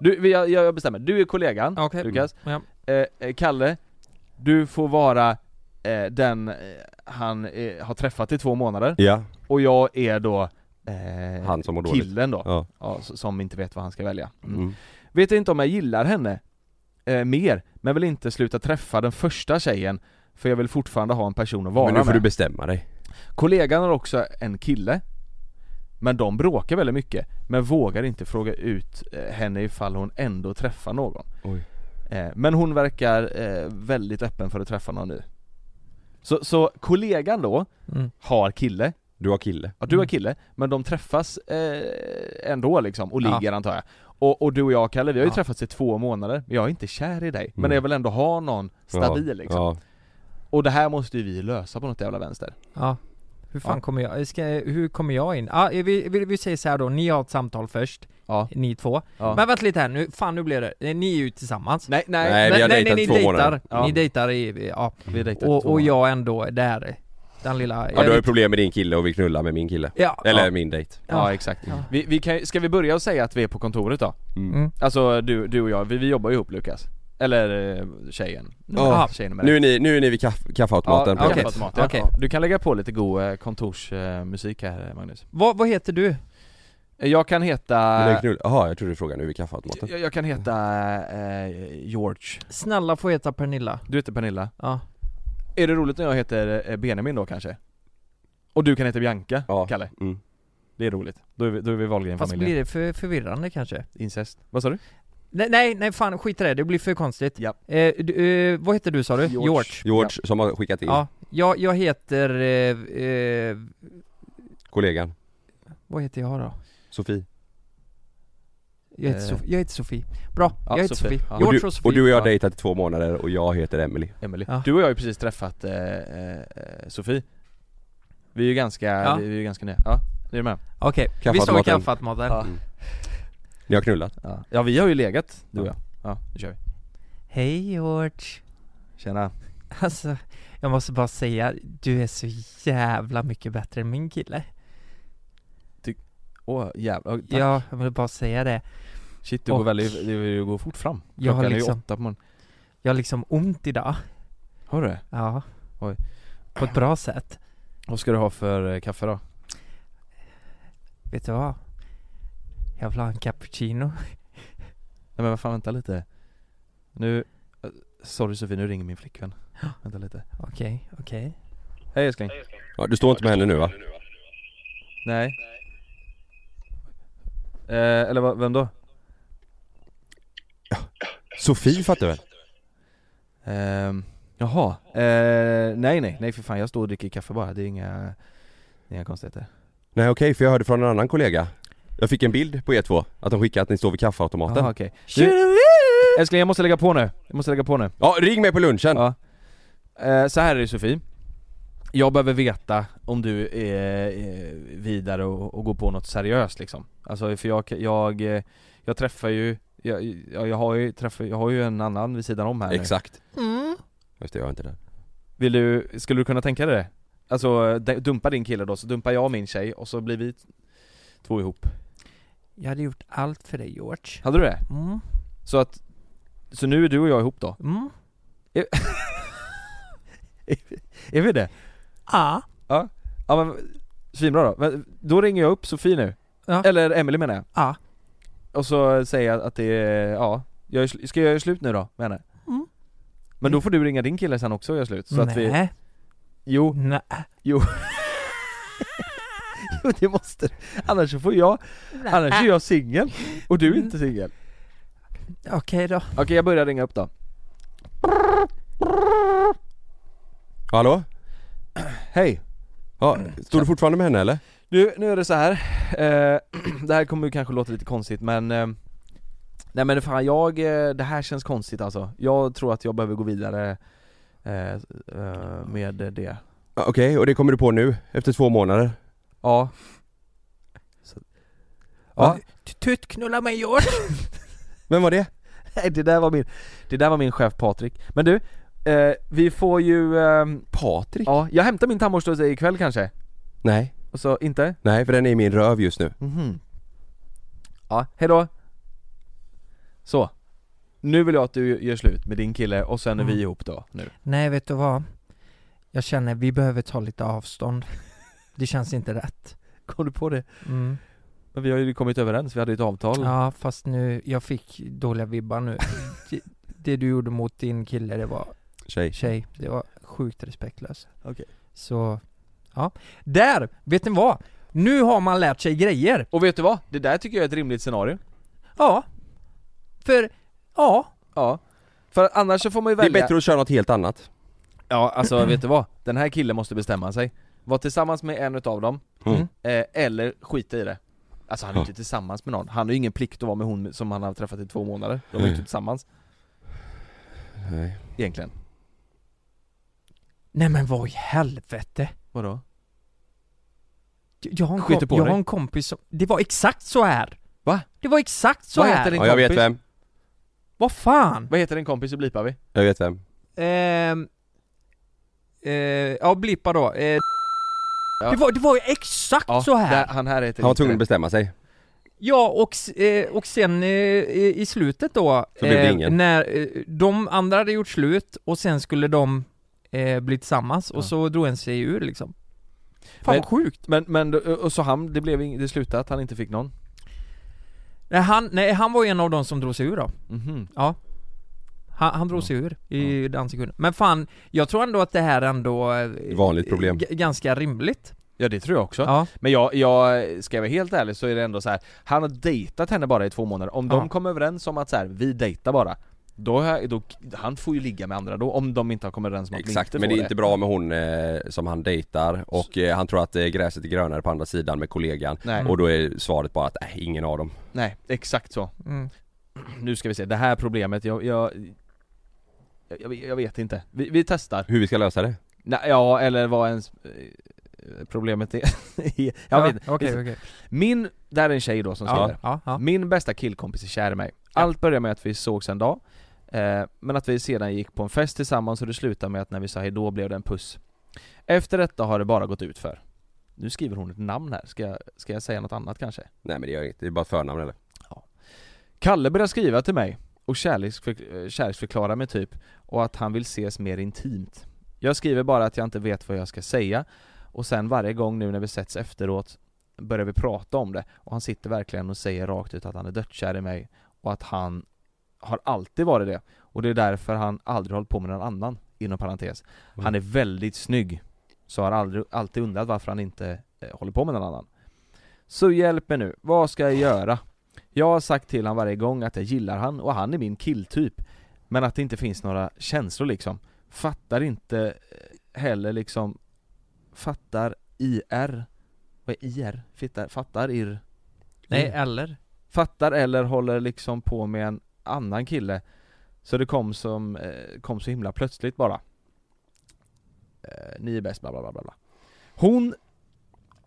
S2: Du, vi- jag, jag bestämmer, du är kollegan,
S5: Okej.
S2: Lukas.
S5: ja.
S2: Eh, eh, Kalle, du får vara eh, den eh, han eh, har träffat i två månader.
S3: ja,
S2: Och jag är då eh,
S3: han som mår dåligt
S2: killen då,
S3: Ja,
S2: ja, s- som inte vet vad han ska välja.
S3: mm.
S2: Vet inte om jag gillar henne eh, mer, men vill inte sluta träffa den första tjejen för jag vill fortfarande ha en person att vara
S3: Men nu får
S2: med.
S3: du bestämma dig
S2: Kollegan har också en kille, men de bråkar väldigt mycket, men vågar inte fråga ut eh, henne ifall hon ändå träffar någon.
S3: Oj.
S2: Eh, men hon verkar eh, väldigt öppen för att träffa någon nu. Så, så kollegan då
S5: Mm.
S2: har kille,
S3: Du har kille
S2: Ja, du
S5: Mm.
S2: är kille, men de träffas eh, ändå liksom, och
S5: Ja.
S2: ligger antar jag. Och, och du och jag Kalle, vi har ju
S5: Ja.
S2: träffats i två månader, men jag är inte kär i dig. Men
S3: Mm.
S2: jag vill ändå ha någon stabil
S3: ja.
S2: liksom.
S3: ja.
S2: Och det här måste ju vi lösa på något jävla vänster.
S5: Ja. Hur fan
S2: Ja.
S5: kommer jag, ska, hur kommer jag in? Ah, vi, vi, vi säger så här då, ni har ett samtal först,
S2: Ja.
S5: ni två.
S2: ja.
S5: Men vänta lite här nu, fan nu blir det, Eh, ni är ju tillsammans.
S2: nej, nej,
S3: Nej. vi har dejtat
S5: ni
S3: två
S5: dejtar,
S3: månader.
S2: Ja.
S5: ni dejtar i, ja.
S2: Vi dejtar
S5: Och,
S2: två
S5: och
S2: månader.
S5: jag ändå där, den lilla,
S3: ja,
S5: jag
S3: du har ju
S5: vet-
S3: problem med din kille och vill knulla med min kille
S5: ja,
S3: Eller
S5: ja.
S3: min dejt
S2: Ja, exakt.
S5: Ja.
S2: Vi, vi kan, ju- ska vi börja och säga att vi är på kontoret då?
S5: Mm.
S2: Alltså du, du och jag, vi, vi jobbar ju ihop Lukas. Eller eh, tjejen.
S3: Ja.
S2: Tjejen med
S3: Nu är ni, nu är ni vid kaff, kaffeautomaten
S2: Ja,
S3: på-
S5: okej.
S2: kaffeautomat, ja.
S5: Okej.
S2: Du kan lägga på lite god eh, kontorsmusik här Magnus.
S5: Vad, vad heter du?
S2: Jag kan heta...
S3: Eller knull- Jaha, jag trodde du frågade nu vid kaffeautomaten
S2: Jag, jag kan heta eh, George.
S5: Snälla få heta Pernilla.
S2: Du heter Pernilla.
S5: Ja.
S2: Är det roligt när jag heter eh, Benjamin då kanske? Och du kan heta Bianca,
S3: Ja.
S2: Kalle.
S3: Mm.
S2: Det är roligt. Då är vi, då är vi
S5: Fast
S2: Wahlgren-familjen.
S5: blir det för förvirrande kanske?
S2: Incest. Vad sa du?
S5: Nej, nej, nej fan skit i det, det blir för konstigt.
S2: Ja.
S5: Eh, du, eh, vad heter du sa du?
S2: George.
S3: George som har skickat in
S5: Ja, jag, jag heter, eh, eh,
S3: kollegan
S5: vad heter jag då?
S3: Sofie
S5: Jag heter,
S2: Eh.
S5: Sof- jag heter Sofie. Bra,
S2: Ja,
S5: jag heter
S2: Sofie.
S5: Sofie.
S2: Ja.
S5: George
S3: och, du,
S5: och Sofie.
S3: och du och jag
S5: Ja.
S3: har dejtat i två månader och jag heter Emily.
S2: Emily.
S5: Ja.
S2: Du och jag har ju precis träffat eh, eh, Sofie. Vi är ju ganska,
S5: Ja.
S2: vi är ju ganska nya. Ja, är du med?
S5: Okej, vi står i
S3: Kaffeautomaten.
S5: kaffeautomaten.
S2: Ja.
S3: Ni har knullat?
S2: Ja. ja, vi har ju legat, du och
S3: Ja.
S2: jag. Ja, nu kör vi.
S5: Hej George.
S2: Tjena.
S5: Alltså, jag måste bara säga, du är så jävla mycket bättre än min kille.
S2: Åh jävlar, Tack.
S5: Ja, jag vill bara säga det.
S2: Shit du
S5: Och-
S2: går väldigt, du går fort fram.
S5: Jag har
S2: Klockan är
S5: liksom-
S2: ju åtta på morgonen.
S5: Jag har liksom ont idag.
S2: Har du det?
S5: Ja.
S2: Oj.
S5: På ett bra sätt.
S2: Vad ska du ha för eh, kaffe då?
S5: Vet du vad? Jag vill ha en cappuccino.
S2: Nej men vad fan vänta lite Nu, eh, sorry Sofie nu ringer min flickvän Vänta lite
S5: Okej, okej.
S2: Hej älskling
S3: Ja, du står inte med henne nu va?
S2: Nej eh, Eller vad, vem då?
S3: Sofie fattar väl?
S2: Ehm, jaha, eh, nej nej, nej för fan jag står och dricker kaffe bara, det är inga Inga konstigheter.
S3: Nej okej, för jag hörde från en annan kollega Jag fick en bild på er två, att de skickade att ni står vid kaffeautomaten
S2: Jaha, okej. Du, älskling jag måste lägga på nu. Jag måste lägga på nu.
S3: Ja, ring mig på lunchen!
S2: Ja. Eh, så här är det Sofie. Jag behöver veta om du är eh, vidare och, och går på något seriöst liksom. Alltså för jag, jag, eh, jag träffar ju, jag, jag, jag, har ju träffar, jag har ju en annan vid sidan om här nu.
S3: Exakt Just det, jag är inte där
S2: Vill du, skulle du kunna tänka dig det? Alltså d- dumpa din kille då, så dumpar jag min tjej och så blir vi två ihop.
S5: Jag hade gjort allt för dig George
S2: Hade du det?
S5: Mm,
S2: Så att, så nu är du och jag ihop då?
S5: mm,
S2: Är vi det?
S5: ah
S2: Ja men, svinbra då. Men Då ringer jag upp Sofie nu.
S5: Ja.
S2: Eller Emelie menar jag.
S5: Ja.
S2: Och så säger jag att det är, ja, jag är, sl- ska jag göra slut nu då med henne?
S5: Mm.
S2: Men då får du ringa din kille sen också och göra slut, så att vi,
S5: Nej,
S2: jo,
S5: nej,
S2: jo det måste du. Annars så får jag, annars är jag singel och du är inte singel.
S5: okej då
S2: Okej jag börjar ringa upp då.
S3: Hallå?
S2: Hej!
S3: Ja, står du fortfarande med henne eller?
S2: Du, nu är det så här. Eh, det här kommer ju kanske låta lite konstigt men eh, Nej men fan jag, eh, det här känns konstigt alltså. Jag tror att jag behöver gå vidare eh, eh, med det.
S3: Ja, Okej, och det kommer du på nu, efter två månader?
S2: Ja. Så. Ja.
S5: Tuttknulla mig George
S3: Vem var det?
S2: Nej, det där var min, det där var min chef Patrik. Men du, eh, vi får ju, ehm,
S3: Patrik?
S2: ja, jag hämtar min tandborste hos dig ikväll kanske.
S3: Nej,
S2: Och så, inte?
S3: nej för den är i min röv just nu
S2: Mhm. Ja, hejdå. Så. Nu vill jag att du gör slut med din kille och sen är vi
S5: Mm.
S2: ihop då, nu.
S5: Nej vet du vad? Jag känner vi behöver ta lite avstånd Det känns inte rätt
S2: Kom du på det?
S5: mm.
S2: Men vi har ju kommit överens, vi hade ett avtal.
S5: Ja fast nu, jag fick dåliga vibbar nu Det- Det du gjorde mot din kille det var
S3: Tjej
S5: tjej, det var sjukt respektlöst
S2: Okej.
S5: Så, ja Där! Vet ni vad? Nu har man lärt sig grejer!
S2: Och vet du vad? Det där tycker jag är ett rimligt scenario.
S5: Ja För, ja
S2: Ja. För annars så får man ju
S3: Det är
S2: välja...
S3: bättre att köra något helt annat
S2: Ja, alltså vet du vad? Den här killen måste bestämma sig. Var tillsammans med en utav dem,
S3: Mm.
S2: eh, eller skita i det. Alltså han är
S3: Ja.
S2: inte tillsammans med någon, han har ju ingen plikt att vara med hon som han har träffat i två månader. De är
S3: Mm.
S2: ju inte tillsammans,
S3: Nej
S2: egentligen.
S5: Nej men vad i helvete!
S2: Vadå?
S5: Jag har en,
S2: Skiter
S5: kom-
S2: på
S5: jag
S2: dig.
S5: har en kompis som, det var exakt så här!
S2: Va?
S5: Det var exakt så
S2: Vad
S5: här!
S2: heter det?
S3: Ja, jag vet
S2: kompis.
S3: vem,
S5: Vad fan!
S2: Vad heter din kompis så blipar vi?
S3: jag vet vem
S5: Ehm... Eh, ja, blippa då. Eh,
S2: Ja.
S5: det, var, det var ju exakt så här!
S2: där- han här heter
S3: Han var
S2: inte
S3: tvungen
S2: det.
S3: att bestämma sig
S5: Ja, och, s- eh, och sen eh, i i slutet då,
S3: Så blev det ingen.
S5: när eh, de andra hade gjort slut och sen skulle de eh, bli tillsammans
S2: Ja.
S5: och så drog en sig ur liksom. Fan
S2: Men-
S5: vad sjukt!
S2: Men, men, då- och så han, det blev ing- det slutade att han inte fick någon?
S5: Nej han, nej, han var ju en av de som drog sig ur då.
S2: Mhm.
S5: Han, han drog sig ur i den sekunden. Men fan, jag tror ändå att det här ändå... eh,
S3: Vanligt problem.
S5: g- ganska rimligt.
S2: Ja det tror jag också.
S5: Ja.
S2: Men jag, jag, ska jag vara helt ärlig så är det ändå så här. han har dejtat henne bara i två månader, om de
S5: Ja.
S2: kommer överens om att så här, vi dejtar bara då, har- då, han får ju ligga med andra då, om de inte har kommit överens om att
S3: Exakt,
S2: de
S3: men
S2: inte
S3: det
S2: får
S3: är inte bra med hon eh, som han dejtar och eh, han tror att eh, gräset är grönare på andra sidan med kollegan
S2: Nej,
S3: och då är svaret bara att äh, ingen av dem
S2: nej, exakt så.
S5: Mm.
S2: Nu ska vi se, det här problemet, jag, jag, jag, jag vet inte. Vi, vi testar.
S3: Hur vi ska lösa det?
S2: Nej, ja, eller vad ens eh, problemet är. jag vet inte.
S5: Okej, okej.
S2: Min, där är en tjej då som skriver.
S5: Ja, ja, ja.
S2: Min bästa killkompis är kär i mig. Allt började med att vi sågs en dag, eh, men att vi sedan gick på en fest tillsammans och det slutade med att när vi sa hejdå blev det en puss. Efter detta har det bara gått ut för. Nu skriver hon ett namn här, ska jag, ska jag säga något annat kanske?
S3: Nej men det gör inget, det är bara ett förnamn eller?
S2: Kalle börjar skriva till mig och kärleksför, eh, kärleksförklara mig typ och att han vill ses mer intimt. Jag skriver bara att jag inte vet vad jag ska säga och sen varje gång nu när vi sätts efteråt börjar vi prata om det och han sitter verkligen och säger rakt ut att han är dödskär i mig och att han har alltid varit det och det är därför han aldrig hållit på med någon annan inom parentes. Han är väldigt snygg så har aldrig, alltid undrat varför han inte eh, håller på med någon annan. Så hjälp mig nu, vad ska jag göra? Jag har sagt till han varje gång att jag gillar han och han är min killtyp Men att det inte finns några känslor liksom Fattar inte eh, heller liksom Fattar IR Vad är IR? Fittar, fattar irr?
S5: Nej, eller?
S2: Fattar eller håller liksom på med en annan kille Så det kom som, eh, kom så himla plötsligt bara eh, Ni är bäst bla bla bla bla bla Hon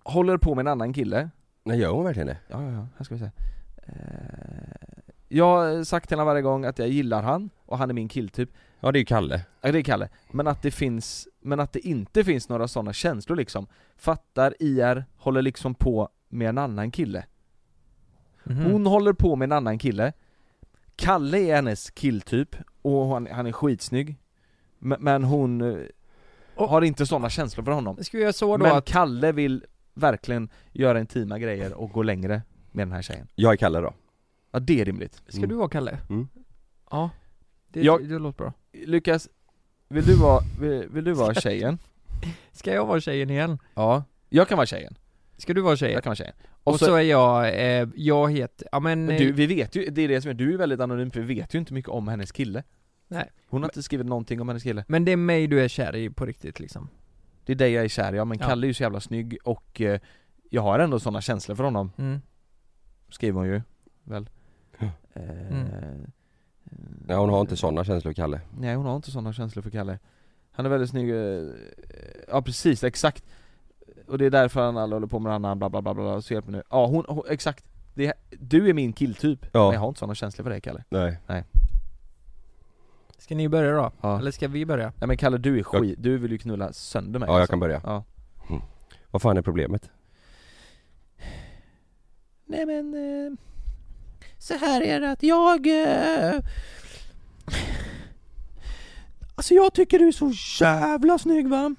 S2: håller på med en annan kille
S3: Nej gör hon verkligen det?
S2: Ja, ja, ja, här ska vi se. Eh, jag har sagt till honom varje gång att jag gillar han och han är min killtyp.
S3: Ja det är ju Kalle
S2: Ja, det är Kalle. Men att det finns, men att det inte finns några sådana känslor liksom. Fattar IR, håller liksom på med en annan kille.
S5: Mhm.
S2: Mm. Hon håller på med en annan kille. Kalle är hennes killtyp och han, han är skitsnygg. Men, men hon eh, har inte sådana känslor för honom.
S5: Ska vi göra så då
S2: Men
S5: att...
S2: Kalle vill verkligen göra intima grejer och gå längre med den här tjejen.
S3: Jag är Kalle då
S2: Ja, det är rimligt.
S5: Ska
S3: Mm.
S5: du vara Kalle?
S3: Mm.
S5: Ja. Det,
S2: Jag-
S5: det låter bra.
S2: Lukas, vill du vara, vill, vill du vara tjejen?
S5: Ska jag vara tjejen igen?
S2: Ja Jag kan vara tjejen,
S5: Ska du vara tjejen?
S2: jag kan vara tjejen
S5: Och så, är jag, eh, jag heter, ja men... eh,
S2: du, vi vet ju, det är det som är, du är väldigt anonym för vi vet ju inte mycket om hennes kille
S5: Nej.
S2: Hon har inte skrivit någonting om hennes kille
S5: Men det är mig du är kär i på riktigt liksom.
S2: Det är dig jag är kär i, ja men
S5: Ja.
S2: Kalle är ju så jävla snygg och eh, Jag har ändå sådana känslor för honom,
S5: Mm.
S2: skriver hon ju, väl?
S3: Ja.
S2: Eh,
S5: Mm.
S3: Nej hon har inte sådana känslor Kalle
S2: Nej hon har inte sådana känslor för Kalle Han är väldigt snygg, eh, ja precis, exakt Och det är därför han alla håller på med annan bla bla bla bla, så hjälp mig nu Ja hon, hon exakt, det, du är min killtyp,
S3: Ja.
S2: men jag har inte sådana känslor för dig Kalle
S3: Nej
S5: Ska ni börja då?
S2: Ja.
S5: Eller ska vi börja?
S2: Nej men Kalle du är skit, du vill ju knulla sönder mig
S3: Ja jag
S2: alltså.
S3: kan börja
S2: Ja.
S3: Mm. Vad fan är problemet?
S2: Nej men, eh, så här är det att jag eh, Alltså jag tycker du är så jävla snygg va?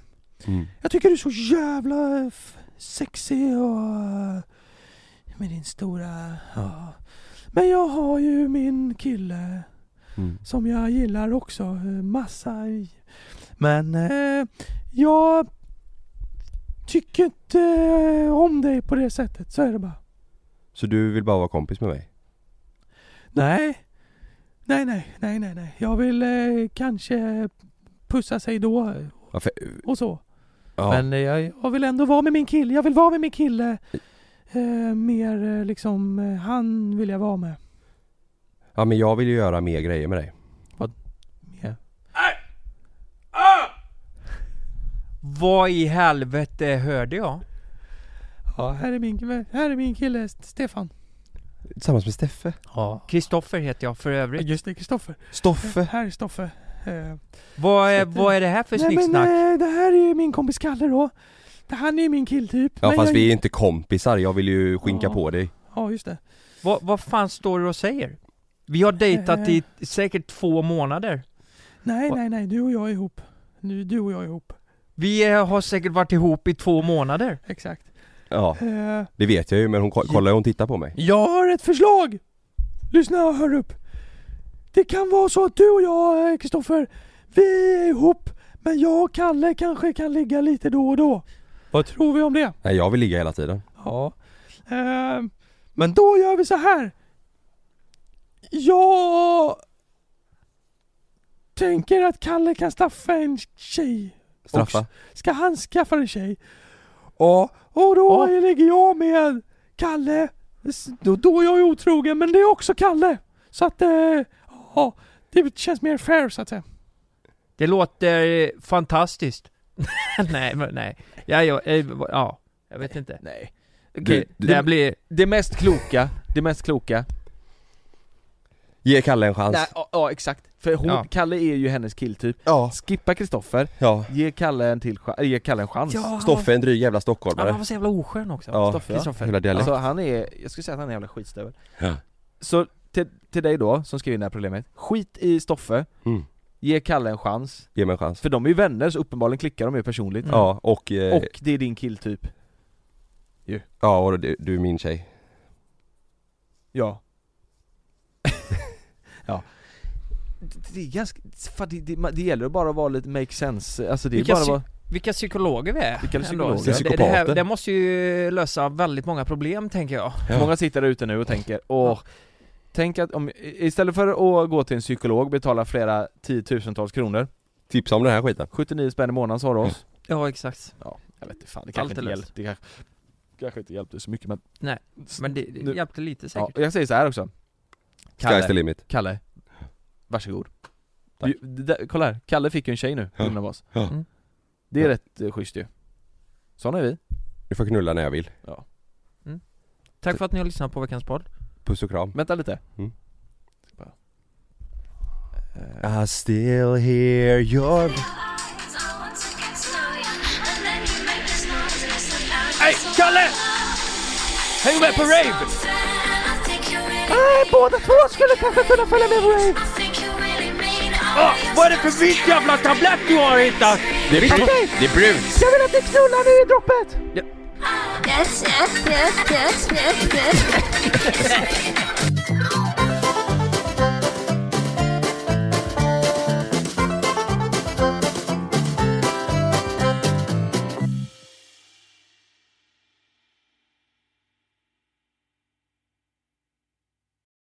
S3: Mm.
S2: Jag tycker du är så jävla eh, f- sexig och eh, med din stora... Ja. Men jag har ju min kille
S3: Mm.
S2: som jag gillar också eh, massa. i. Men eh, jag tycker inte eh, om dig på det sättet, så är det bara.
S3: Så du vill bara vara kompis med mig?
S2: Nej, nej, nej, nej, nej, nej. Jag vill eh, kanske pussa sig då eh,
S3: Ja, för,
S2: och så.
S3: ja.
S2: Men eh, jag, jag vill ändå vara med min kille, jag vill vara med min kille eh, Mer eh, liksom, eh, han vill jag vara med
S3: ja men jag vill ju göra mer grejer med dig
S5: Ah! Vad i helvete hörde jag?
S2: Ja, här är min, här är min kille Stefan
S3: Tillsammans med Steffe
S5: Ja. Kristoffer heter jag för övrigt.
S2: Just det, Kristoffer
S3: Stoffe!
S2: Här är Stoffe eh,
S5: Vad är, vad är det här för
S2: Nej men
S5: snicksnack?
S2: eh, det här är ju min kompis Kalle då Det- Han är ju min killtyp
S3: Ja
S2: men
S3: fast
S2: jag,
S3: vi är inte kompisar, jag vill ju skinka
S2: Ja.
S3: på dig
S2: Ja just det
S5: Vad, vad fan står du och säger? Vi har dejtat i säkert två månader.
S2: Nej
S5: Va-
S2: nej nej, du och jag är ihop nu, Du och jag är ihop,
S5: Vi eh, har säkert varit ihop i två månader.
S2: exakt
S3: Ja
S2: eh,
S3: det vet jag ju men hon ko- kollar ju, hon tittar på mig
S2: Jag har ett förslag! Lyssna och hör upp. Det kan vara så att du och jag, eh, Kristoffer, vi är ihop, men jag och Kalle kanske kan ligga lite då och då. Vad tror vi om det?
S3: Nej jag vill ligga hela tiden
S2: Ja. Ehm, men då gör vi så här. Jag tänker att Kalle kan straffa en tjej.
S3: Straffa
S2: Och ska han skaffa en tjej? Ja. Och då ligger jag med Kalle. S- Då, då är jag ju otrogen, men det är också Kalle. Så att, eh, ja. Det känns mer fair så att säga.
S5: Det låter eh, fantastiskt. nej, men nej. Ja, ja, eh, va- ja, jag vet inte.
S2: Nej.
S5: Okej, det här blir...
S2: Det mest kloka, det mest kloka.
S3: Alltså. Ge Kalle en chans
S2: ja, ja, exakt. För hon,
S5: Ja.
S2: Kalle är ju hennes killtyp.
S3: Ja,
S2: Skippa Kristoffer,
S3: ja
S2: ge Kalle en till chans, ge Kalle en chans.
S5: Ja,
S3: Stoffe är en dryg jävla
S5: Han var,
S3: stockholmare
S5: var så jävla oskön också.
S3: Ja,
S2: Ah, Stoffe, ja.
S5: Kristoffer.
S3: hela dialekt
S2: Alltså han är, jag skulle säga att han är en jävla skitstövel.
S3: Ja.
S2: Så till, till dig då, som skrev in det här problemet, skit i Stoffe,
S3: mm.
S2: ge Kalle en chans.
S3: Ge mig en chans
S2: För de är ju vänner så uppenbarligen klickar de ju personligt.
S5: Mm.
S3: Ja och, eh,
S2: Och det är din typ. killtyp.
S3: ja och du, du är min tjej
S2: Ja. ja. Det- Det är ganska, fan, det, det, det gäller bara att vara lite make sense, alltså det är
S5: Vilka
S2: bara att
S5: sy-
S2: vara,
S5: Vilka psykologer vi är.
S2: Vilka
S5: ändå.
S2: psykologer?
S5: Så Det, det, här,
S3: Psykopater.
S5: det måste ju lösa väldigt många problem tänker jag.
S3: Ja.
S2: Många sitter där ute nu och tänker åh Tänk att om, istället för att gå till en psykolog, betala flera tiotusentals kronor
S3: Tipsa om den här skiten
S2: 79 spänn i månaden sa du oss
S5: Ja, exakt.
S2: Ja, jag vet inte fan, det
S5: Allt
S2: kanske
S5: är
S2: inte
S5: löst.
S2: hjälpte det kanske, kanske inte hjälpte så mycket men
S5: Nej, Men det, det
S2: Nu-
S5: hjälpte lite
S2: ja,
S5: säkert.
S2: Jag säger så här också
S3: Sky's the
S2: Kalle,
S3: limit
S2: Kalle Varsågod
S3: Tack.
S2: du, det där, Kolla här, Kalle fick ju en tjej nu på
S3: Ja.
S2: grund av oss
S3: Ja.
S5: Mm.
S2: Det är rätt eh, schysst ju Sån är vi
S3: Du får knulla när jag vill
S5: Tack för att ni har lyssnat på veckans podd.
S3: Puss och kram
S2: Vänta lite
S3: Mm.
S2: Ska bara-
S3: I still hear your
S2: Hej Kalle! Häng med på rave! båda två skulle kanske kunna följa med på rave! vad är det för vitt jävla tablett du har hittat?
S3: Det är brunt! Det är brunt!
S2: Jag vill att du knullar nu i droppet!
S9: Yes, yes, yes, yes, yes, yes.